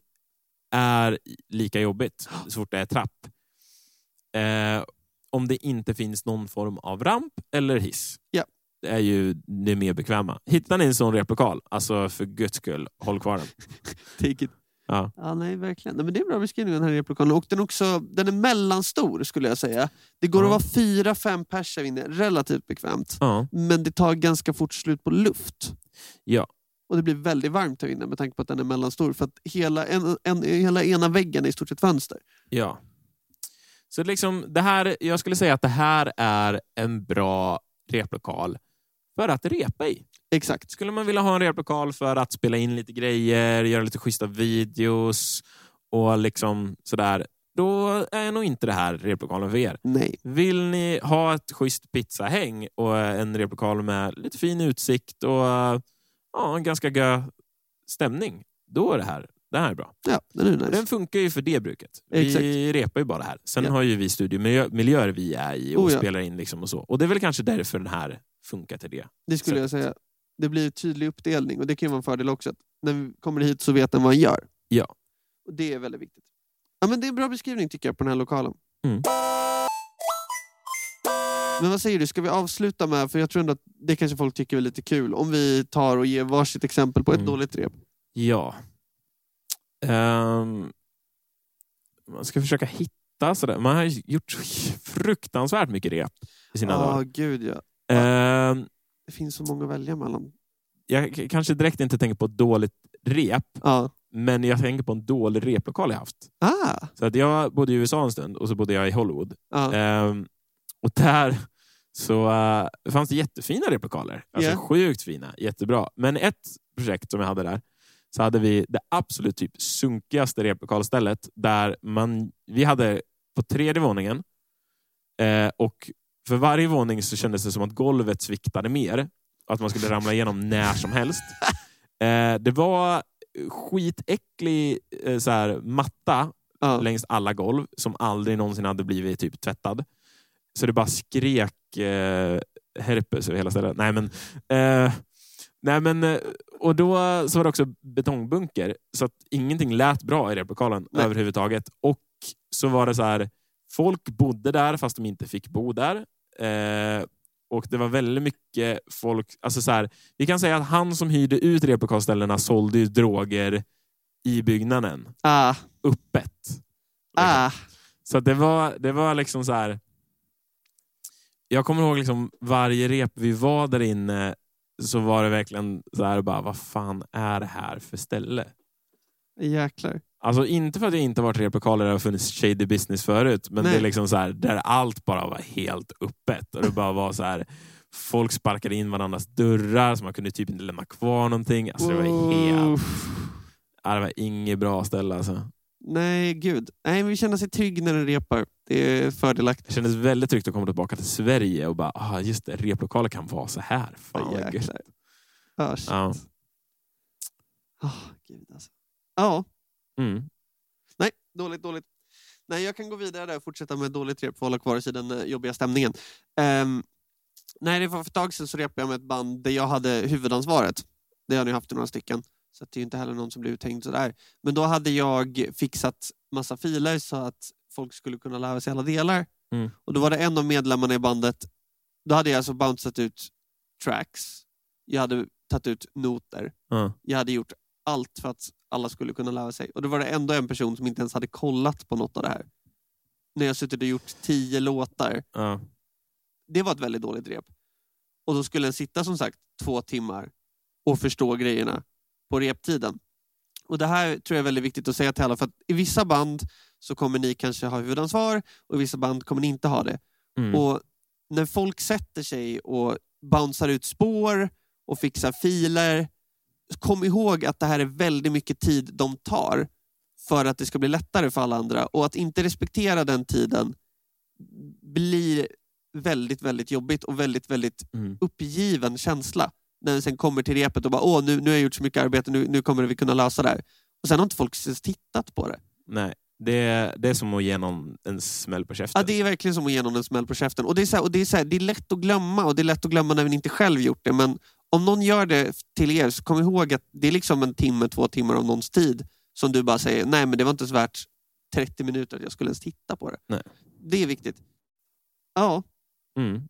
B: är lika jobbigt så fort det är trapp. Eh, om det inte finns någon form av ramp eller hiss.
A: Ja.
B: Det är ju det mer bekväma. Hittar ni en sån replokal, alltså för guds skull, håll kvar den.
A: Take it.
B: Ja.
A: Ja, nej, verkligen. Nej, men det är en bra beskrivning av den här replokalen. Och den, är också, den är mellanstor skulle jag säga. Det går
B: Ja.
A: att vara fyra, fem pers här inne relativt bekvämt.
B: Ja.
A: Men det tar ganska fort slut på luft.
B: Ja.
A: Och det blir väldigt varmt här inne med tanke på att den är mellanstor. För att hela, en, en, hela ena väggen är i stort sett fönster.
B: Ja. Så liksom, det här, jag skulle säga att det här är en bra replokal för att repa i.
A: Exakt.
B: Skulle man vilja ha en replokal för att spela in lite grejer, göra lite schyssta videos och liksom sådär, då är nog inte det här replokalen för er.
A: Nej.
B: Vill ni ha ett schysst pizzahäng och en replokal med lite fin utsikt och ja, en ganska gö stämning, då är det här, det här är bra.
A: Ja, den är nice.
B: Den funkar ju för det bruket. Vi
A: Exakt.
B: repar ju bara här. Sen
A: Ja.
B: har ju vi studiomiljöer vi är i och
A: Oh ja.
B: spelar in liksom och så. Och det är väl kanske därför den här funkar till det.
A: Det skulle jag
B: sättet.
A: säga. Det blir tydlig uppdelning och det kan ju vara en fördel också. Att när vi kommer hit så vet den vad han gör.
B: Ja.
A: Och det är väldigt viktigt. Ja, men det är en bra beskrivning tycker jag på den här lokalen.
B: Mm.
A: Men vad säger du, ska vi avsluta med, för jag tror ändå att det kanske folk tycker är lite kul, om vi tar och ger varsitt exempel på ett
B: Mm.
A: dåligt rep.
B: Ja. Ehm, man ska försöka hitta sådär. Man har ju gjort så fruktansvärt mycket rep i sina
A: Ja,
B: dagar.
A: Ah, gud ja.
B: Ehm,
A: Det finns så många att välja mellan.
B: jag k- kanske direkt inte tänker på ett dåligt rep,
A: Ja.
B: men jag tänker på en dålig replokal jag haft.
A: Ah!
B: Så att jag bodde i USA en stund och så bodde jag i Hollywood.
A: Ja.
B: Ehm, och där så eh, fanns det jättefina replikaler. Alltså
A: Ja.
B: Sjukt fina, jättebra. Men ett projekt som jag hade där, så hade vi det absolut typ sunkigaste replikalstället. Där man, vi hade på tredje våningen eh, och för varje våning så kändes det som att golvet sviktade mer. Att man skulle ramla igenom när som helst. Eh, det var skitäcklig eh, så här, matta
A: ja.
B: längs alla golv som aldrig någonsin hade blivit typ tvättad. Så det bara skrek eh, herpes över hela stället. Nej men, eh, nej, men eh, och då så var det också betongbunker så att ingenting lät bra i replokalen
A: Nej.
B: överhuvudtaget. Och så var det så här, folk bodde där fast de inte fick bo där. Eh, och det var väldigt mycket folk, alltså så här, vi kan säga att han som hyrde ut repokalställena sålde ju droger i byggnaden
A: Ah.
B: öppet. Liksom.
A: Ah.
B: Så att det var, det var liksom så här. Jag kommer ihåg liksom varje rep vi var där inne så var det verkligen så här bara, vad fan är det här för ställe?
A: Jäklar.
B: Alltså inte för att jag inte har varit i replokaler där det har funnits shady business förut, men
A: Nej.
B: det är liksom så här där allt bara var helt öppet och det bara var så här folk sparkade in varandras dörrar så man kunde typ inte lämna kvar någonting. Alltså det var helt,
A: Uff.
B: ja, det var inget bra ställe alltså.
A: Nej, gud. Nej, men vi känner sig trygg när den repar. Det är fördelaktigt.
B: Det kändes väldigt tryggt att komma tillbaka till Sverige och bara, ah, just det, replokaler kan vara så här. Fan, vad gött.
A: Jäklar. Ja, shit.
B: Ja.
A: Ah, gud alltså. Ja,
B: Mm.
A: nej, dåligt, dåligt. Nej, jag kan gå vidare där och fortsätta med dåligt rep för att hålla kvar oss i den eh, jobbiga stämningen. Um, nej, det var för ett tag sedan så repade jag med ett band där jag hade huvudansvaret. Det har jag nu haft i några stycken. Så att det är ju inte heller någon som blir uthängd sådär. Men då hade jag fixat massa filer så att folk skulle kunna lära sig alla delar.
B: Mm.
A: Och då var det en av medlemmarna i bandet. Då hade jag alltså bouncat ut tracks. Jag hade tagit ut noter
B: Ja.
A: jag hade gjort allt för att alla skulle kunna lära sig. Och då var det ändå en person som inte ens hade kollat på något av det här. När jag suttit och gjort tio låtar.
B: Ja.
A: Det var ett väldigt dåligt rep. Och då skulle den sitta som sagt två timmar och förstå grejerna på reptiden. Och det här tror jag är väldigt viktigt att säga till alla för att i vissa band så kommer ni kanske ha huvudansvar och i vissa band kommer ni inte ha det.
B: Mm.
A: Och när folk sätter sig och bouncear ut spår och fixar filer, kom ihåg att det här är väldigt mycket tid de tar för att det ska bli lättare för alla andra. Och att inte respektera den tiden blir väldigt, väldigt jobbigt och väldigt, väldigt
B: Mm.
A: uppgiven känsla när den sen kommer till repet och bara åh, nu, nu har jag gjort så mycket arbete, nu, nu kommer vi kunna lösa det här. Och sen har inte folk ens tittat på det.
B: Nej, det är, det är som att ge någon en smäll på käften.
A: Ja, det är verkligen som att ge någon en smäll på käften. Och det, är så här, och det, är så här, det är lätt att glömma och det är lätt att glömma när man inte själv gjort det. Men om någon gör det till er, så kom ihåg att det är liksom en timme, två timmar av någons tid som du bara säger, nej men det var inte ens värt 30 minuter att jag skulle ens titta på det.
B: Nej.
A: Det är viktigt. Ja,
B: Mm.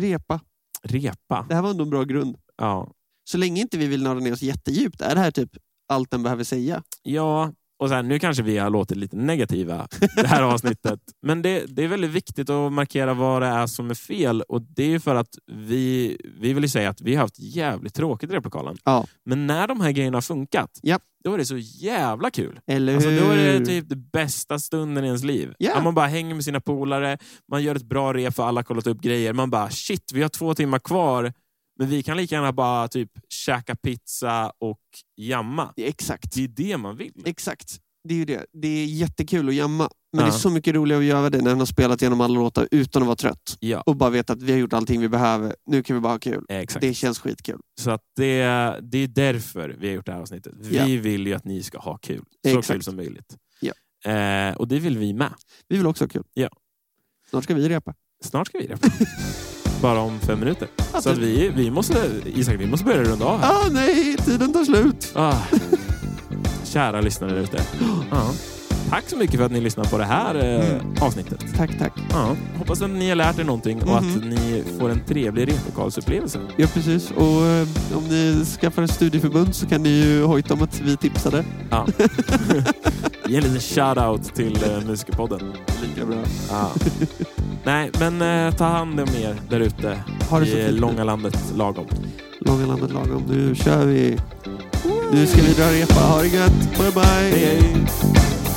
A: repa.
B: Repa.
A: Det här var ändå en bra grund.
B: Ja.
A: Så länge inte vi vill nörda ner oss jättedjupt är det här typ allt den behöver säga.
B: ja, och sen, nu kanske vi har låtit lite negativa det här avsnittet. Men det, det är väldigt viktigt att markera vad det är som är fel. Och Det är ju för att vi, vi vill ju säga att vi har haft jävligt tråkigt i replokalen.
A: Ja.
B: Men när de här grejerna har funkat,
A: Ja.
B: då är det så jävla kul.
A: Eller
B: Alltså,
A: hur?
B: då är det typ den bästa stunden i ens liv.
A: Ja.
B: Att man bara hänger med sina polare, man gör ett bra rep för alla har kollat upp grejer. Man bara shit, vi har två timmar kvar, men vi kan lika gärna bara typ käka pizza och jamma.
A: Exakt.
B: Det är det man vill.
A: Exakt. Det är ju det. Det är jättekul att jamma. Men
B: Ja.
A: det är så mycket roligare att göra det när man har spelat igenom alla låtar utan att vara trött.
B: Ja,
A: Och bara veta att vi har gjort allting vi behöver. Nu kan vi bara ha kul.
B: exakt.
A: Det känns skitkul.
B: Så att det, det är därför vi har gjort det här avsnittet. Vi
A: Ja.
B: vill ju att ni ska ha kul. Så
A: Exakt.
B: kul som möjligt.
A: Ja.
B: Eh, och det vill vi med.
A: Vi vill också ha kul.
B: Ja.
A: Snart ska vi repa.
B: Snart ska vi repa. bara om fem minuter. Så att vi, vi måste, Isak, vi måste börja runda av här.
A: Ah, nej! Tiden tar slut!
B: Ah. Kära lyssnare där ute. Ja. Tack så mycket för att ni lyssnar på det här eh,
A: Mm.
B: avsnittet.
A: Tack, tack.
B: Ja. Hoppas att ni har lärt er någonting och
A: Mhm.
B: att ni får en trevlig repokalsupplevelse.
A: Ja, precis. Och eh, om ni skaffar ett studieförbund så kan ni ju hojta om att vi tipsade.
B: Ja. Ge en liten shout-out till eh, Musikerpodden.
A: Lika bra.
B: Ja. Nej, men eh, ta hand om er där ute
A: Ha det så
B: i
A: fint.
B: långa landet lagom.
A: Långa landet lagom. Nu kör vi. Nu ska vi dra repa. Ha det gött. Bye, bye.
B: Hej, hej.